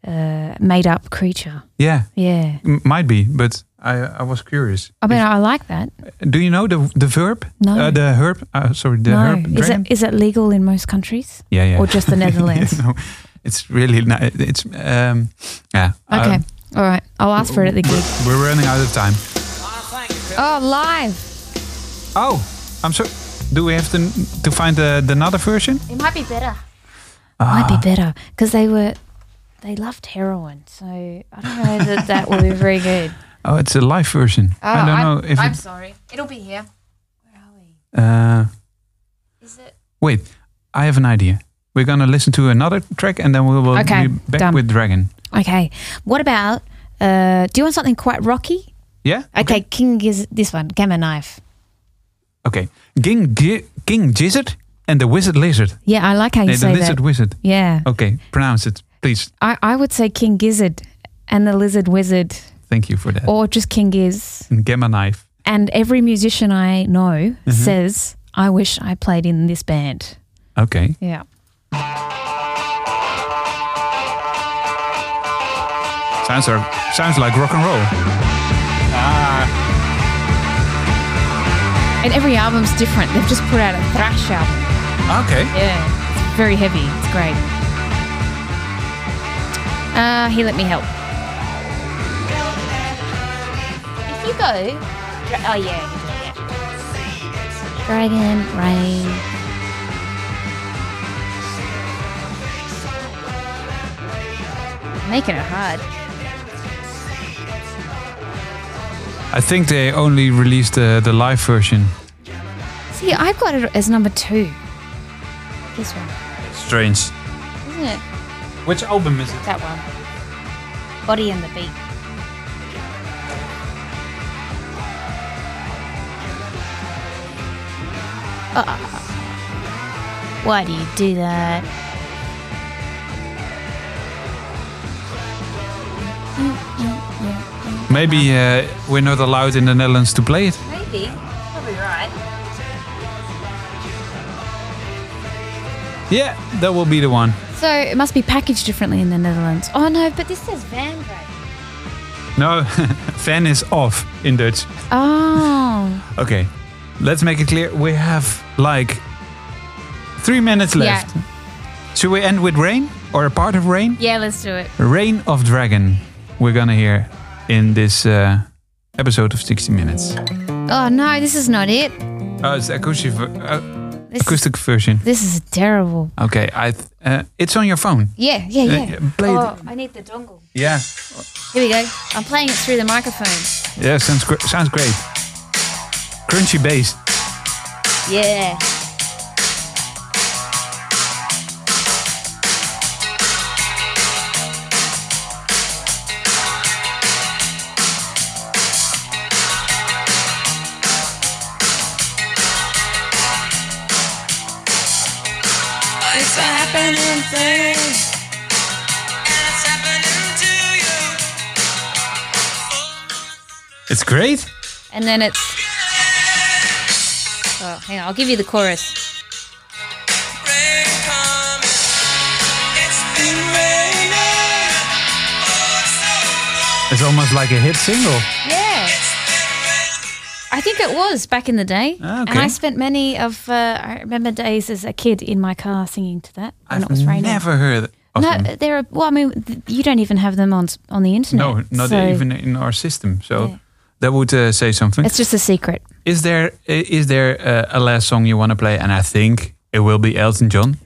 [SPEAKER 5] uh, made up creature.
[SPEAKER 4] Yeah,
[SPEAKER 5] Yeah.
[SPEAKER 4] m- might be, but I I was curious.
[SPEAKER 5] I mean, I like that.
[SPEAKER 4] Do you know the the verb?
[SPEAKER 5] Oh,
[SPEAKER 4] Uh,
[SPEAKER 5] No.
[SPEAKER 4] the herb. Uh, sorry, the
[SPEAKER 5] no,
[SPEAKER 4] herb
[SPEAKER 5] is
[SPEAKER 4] dragon.
[SPEAKER 5] it is it legal in most countries
[SPEAKER 4] yeah, *laughs* yeah.
[SPEAKER 5] or just the Netherlands?
[SPEAKER 4] no, it's really ni- it's um yeah.
[SPEAKER 5] Okay,
[SPEAKER 4] um,
[SPEAKER 5] all right. I'll ask for it at the
[SPEAKER 4] *laughs*
[SPEAKER 5] gig.
[SPEAKER 4] we're running out of time.
[SPEAKER 5] Oh, live.
[SPEAKER 4] Oh, I'm sorry. Do we have to to find the the another version?
[SPEAKER 5] It might be better.
[SPEAKER 4] Ah.
[SPEAKER 5] Might be better because they were they loved heroin, so I don't know that that will be very good.
[SPEAKER 4] Oh, it's a live version. *laughs*
[SPEAKER 5] Oh,
[SPEAKER 4] I don't know if. it,
[SPEAKER 5] sorry. It'll be here. Where are we?
[SPEAKER 4] uh,
[SPEAKER 5] Is it?
[SPEAKER 4] Wait, I have an idea. We're gonna listen to another track and then we will
[SPEAKER 5] Okay,
[SPEAKER 4] be back
[SPEAKER 5] done.
[SPEAKER 4] with Dragon.
[SPEAKER 5] Okay. What about? Uh, do you want something quite rocky?
[SPEAKER 4] Yeah.
[SPEAKER 5] Okay, King is this one. Gamma knife.
[SPEAKER 4] Okay. King Gi- King Gizzard and the Wizard Lizard.
[SPEAKER 5] Yeah, I like how
[SPEAKER 4] Nee, the
[SPEAKER 5] you say
[SPEAKER 4] Lizard
[SPEAKER 5] that.
[SPEAKER 4] Wizard.
[SPEAKER 5] Yeah,
[SPEAKER 4] Okay, pronounce it, please.
[SPEAKER 5] I, I would say King Gizzard and the Lizard Wizard,
[SPEAKER 4] Thank you for that.
[SPEAKER 5] or just King Giz.
[SPEAKER 4] And Gamma Knife.
[SPEAKER 5] And every musician I know
[SPEAKER 4] Mm-hmm.
[SPEAKER 5] says, "I wish I played in this band."
[SPEAKER 4] Okay.
[SPEAKER 5] Yeah.
[SPEAKER 4] Sounds like, sounds like rock and roll.
[SPEAKER 5] And every album's different. They've just put out a thrash album.
[SPEAKER 4] Okay.
[SPEAKER 5] Yeah. It's very heavy. It's great. Uh, he let me help. If you go, dra- oh yeah, yeah. Dragon rain. Making it hard.
[SPEAKER 4] I think they only released the, the live version.
[SPEAKER 5] See, I've got it as number two. This one,
[SPEAKER 4] Strange.
[SPEAKER 5] isn't it?
[SPEAKER 4] Which album is it?
[SPEAKER 5] That one. Body and the Beat. Ah. why do you do that?
[SPEAKER 4] Maybe uh, we're not allowed in the Netherlands to play it.
[SPEAKER 5] Maybe. Probably right.
[SPEAKER 4] Yeah, that will be the one.
[SPEAKER 5] So it must be packaged differently in the Netherlands. Oh no, but this says Van Grey.
[SPEAKER 4] No, *laughs* fan is off in Dutch.
[SPEAKER 5] Oh.
[SPEAKER 4] Okay, let's make it clear. We have like three minutes
[SPEAKER 5] Yeah.
[SPEAKER 4] left. Should we end with rain or a part of rain?
[SPEAKER 5] Yeah, let's do it.
[SPEAKER 4] Reign of Dragon. We're gonna hear in this uh, episode of 60 Minutes.
[SPEAKER 5] Oh no, this is not it.
[SPEAKER 4] Oh, it's the acoustic, ver- uh,
[SPEAKER 5] This,
[SPEAKER 4] acoustic version.
[SPEAKER 5] this is terrible.
[SPEAKER 4] Okay, I th- uh, it's on your phone.
[SPEAKER 5] Yeah, yeah,
[SPEAKER 4] Uh,
[SPEAKER 5] yeah.
[SPEAKER 4] yeah, play it.
[SPEAKER 5] oh, I need the dongle.
[SPEAKER 4] Yeah.
[SPEAKER 5] Here we go. I'm playing it through the microphone.
[SPEAKER 4] Yeah, sounds gr- sounds great. Crunchy bass.
[SPEAKER 5] Yeah.
[SPEAKER 10] It's a happening thing. And it's happening to you.
[SPEAKER 4] It's great.
[SPEAKER 5] And then it's. Oh, hang on. I'll give you the chorus.
[SPEAKER 10] Rain coming. It's been raining. Oh, so long.
[SPEAKER 4] It's almost like a hit single.
[SPEAKER 5] Yeah.
[SPEAKER 10] It's been raining.
[SPEAKER 5] I think it was back in the day.
[SPEAKER 4] Ah, okay.
[SPEAKER 5] And I spent many of, uh, I remember days as a kid in my car singing to that when it was
[SPEAKER 4] I've
[SPEAKER 5] raining.
[SPEAKER 4] never heard of
[SPEAKER 5] Oh, no,
[SPEAKER 4] them.
[SPEAKER 5] there are, well, I mean, th- you don't even have them on s- on the internet.
[SPEAKER 4] No, not
[SPEAKER 5] so
[SPEAKER 4] even in our system. So
[SPEAKER 5] Yeah.
[SPEAKER 4] that would uh, say something.
[SPEAKER 5] It's just a secret.
[SPEAKER 4] Is there is there uh, a last song you want to play? And I think it will be Elton John.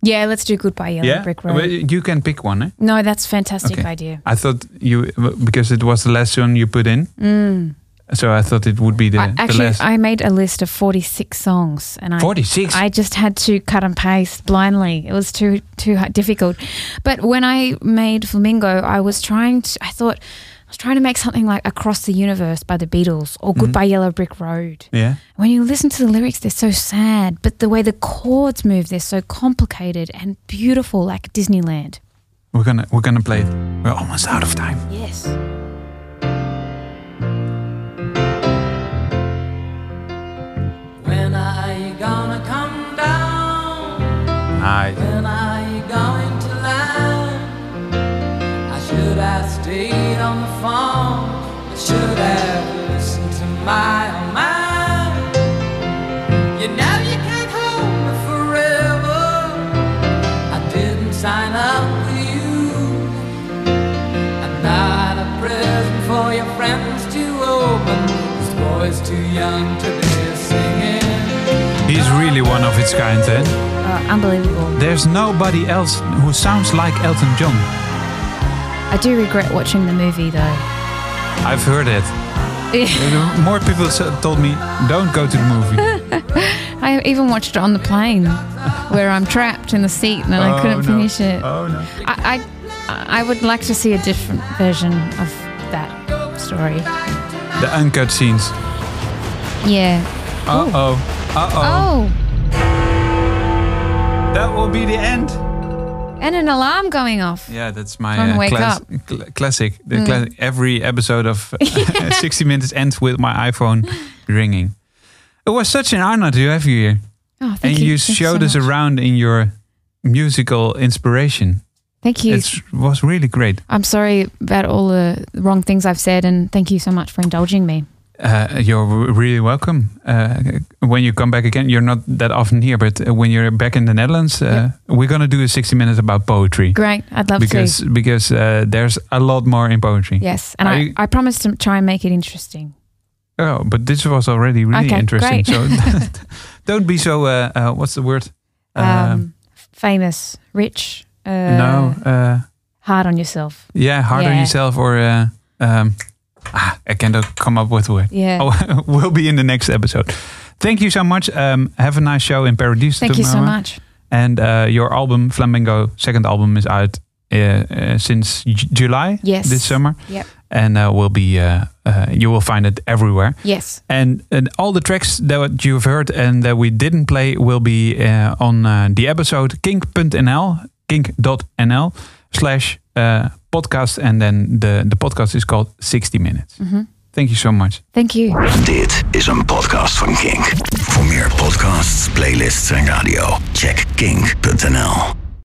[SPEAKER 5] Yeah, let's do Goodbye Yellow Brick Road.
[SPEAKER 4] Well, you can pick one. Eh?
[SPEAKER 5] no, that's a fantastic
[SPEAKER 4] Okay.
[SPEAKER 5] idea.
[SPEAKER 4] I thought you because it was the last one you put in,
[SPEAKER 5] Mm.
[SPEAKER 4] so I thought it would be the,
[SPEAKER 5] I,
[SPEAKER 4] the
[SPEAKER 5] actually,
[SPEAKER 4] last.
[SPEAKER 5] I made a list of 46 songs and I
[SPEAKER 4] 46?
[SPEAKER 5] I just had to cut and paste blindly. It was too too h- difficult. But when I made Flamingo, I was trying to I thought I was trying to make something like Across the Universe by the Beatles or Goodbye Yellow Brick Road.
[SPEAKER 4] Mm-hmm. yeah,
[SPEAKER 5] When you listen to the lyrics, they're so sad, but the way the chords move, they're so complicated and beautiful like Disneyland.
[SPEAKER 4] we're gonna we're gonna play it. We're almost out of time.
[SPEAKER 5] Yes.
[SPEAKER 10] When are you gonna come down?
[SPEAKER 4] Hi.
[SPEAKER 10] When are you going to land? I should have stayed on the phone. I should have listened to my own mind. You know you can't hold me forever. I didn't sign up for you. I'm not a present for your friends to open. This boy's too young to be singing.
[SPEAKER 4] He's really one of its kind. Eh?
[SPEAKER 5] Oh, unbelievable.
[SPEAKER 4] There's nobody else who sounds like Elton John.
[SPEAKER 5] I do regret watching the movie *laughs* though.
[SPEAKER 4] I've heard it. More people s- told me don't go to the
[SPEAKER 5] *laughs*
[SPEAKER 4] movie.
[SPEAKER 5] I even watched it on the plane where I'm trapped in the seat and I couldn't finish it.
[SPEAKER 4] Oh no.
[SPEAKER 5] I, I, I would like to see a different version of that story.
[SPEAKER 4] The uncut scenes.
[SPEAKER 5] Yeah.
[SPEAKER 4] Uh oh. Uh oh.
[SPEAKER 5] Oh,
[SPEAKER 4] That will be the end.
[SPEAKER 5] Oh, and an alarm going off.
[SPEAKER 4] Yeah, that's my
[SPEAKER 5] Time to wake
[SPEAKER 4] clas-
[SPEAKER 5] up. Mm.
[SPEAKER 4] cl- classic. The cla- every episode
[SPEAKER 5] *laughs*
[SPEAKER 4] of *laughs* 60 Minutes ends with my iPhone ringing. It was such an honor to have you here.
[SPEAKER 5] Oh,
[SPEAKER 4] and
[SPEAKER 5] thank
[SPEAKER 4] you,
[SPEAKER 5] Thank
[SPEAKER 4] showed
[SPEAKER 5] so
[SPEAKER 4] us
[SPEAKER 5] much.
[SPEAKER 4] around in your musical inspiration.
[SPEAKER 5] Thank you.
[SPEAKER 4] It was really great.
[SPEAKER 5] I'm sorry about all the wrong things I've said, and thank you so much for indulging me.
[SPEAKER 4] Uh, you're w- really welcome. Uh, when you come back again, you're not that often here, but uh, when you're back in the Netherlands, uh, we're gonna do a 60 minutes about poetry.
[SPEAKER 5] Great. I'd love
[SPEAKER 4] because
[SPEAKER 5] to.
[SPEAKER 4] because uh, there's a lot more in poetry.
[SPEAKER 5] Yes. And
[SPEAKER 4] Are
[SPEAKER 5] I,
[SPEAKER 4] you-
[SPEAKER 5] I promised to try and make it interesting.
[SPEAKER 4] Oh, but this was already really
[SPEAKER 5] Okay,
[SPEAKER 4] interesting.
[SPEAKER 5] great. *laughs*
[SPEAKER 4] So *laughs* don't be so. Uh, uh, what's the word? Um,
[SPEAKER 5] Um, famous, rich, uh,
[SPEAKER 4] no. Uh,
[SPEAKER 5] hard on yourself.
[SPEAKER 4] yeah, hard on
[SPEAKER 5] yeah.
[SPEAKER 4] yourself or. Uh, um, ah, I cannot come up with a word.
[SPEAKER 5] Yeah.
[SPEAKER 4] *laughs* Oh, we'll be in the next episode. Thank you so much. Um, have a nice show in Paradise
[SPEAKER 5] Thank you
[SPEAKER 4] tomorrow.
[SPEAKER 5] so much.
[SPEAKER 4] And uh, your album, Flamingo, second album, is out uh, uh, since J- July
[SPEAKER 5] Yes.
[SPEAKER 4] this summer.
[SPEAKER 5] Yep.
[SPEAKER 4] And uh, will be uh, uh, you will find it everywhere.
[SPEAKER 5] Yes.
[SPEAKER 4] And, and all the tracks that you've heard and that we didn't play will be uh, on uh, the episode kink.nl, kink.nl slash uh, podcast. And then the, the podcast is called 60 Minutes. Thank you so much.
[SPEAKER 5] Thank you.
[SPEAKER 1] Dit is een podcast van Kink. Voor meer podcasts, playlists en radio, check kink.nl.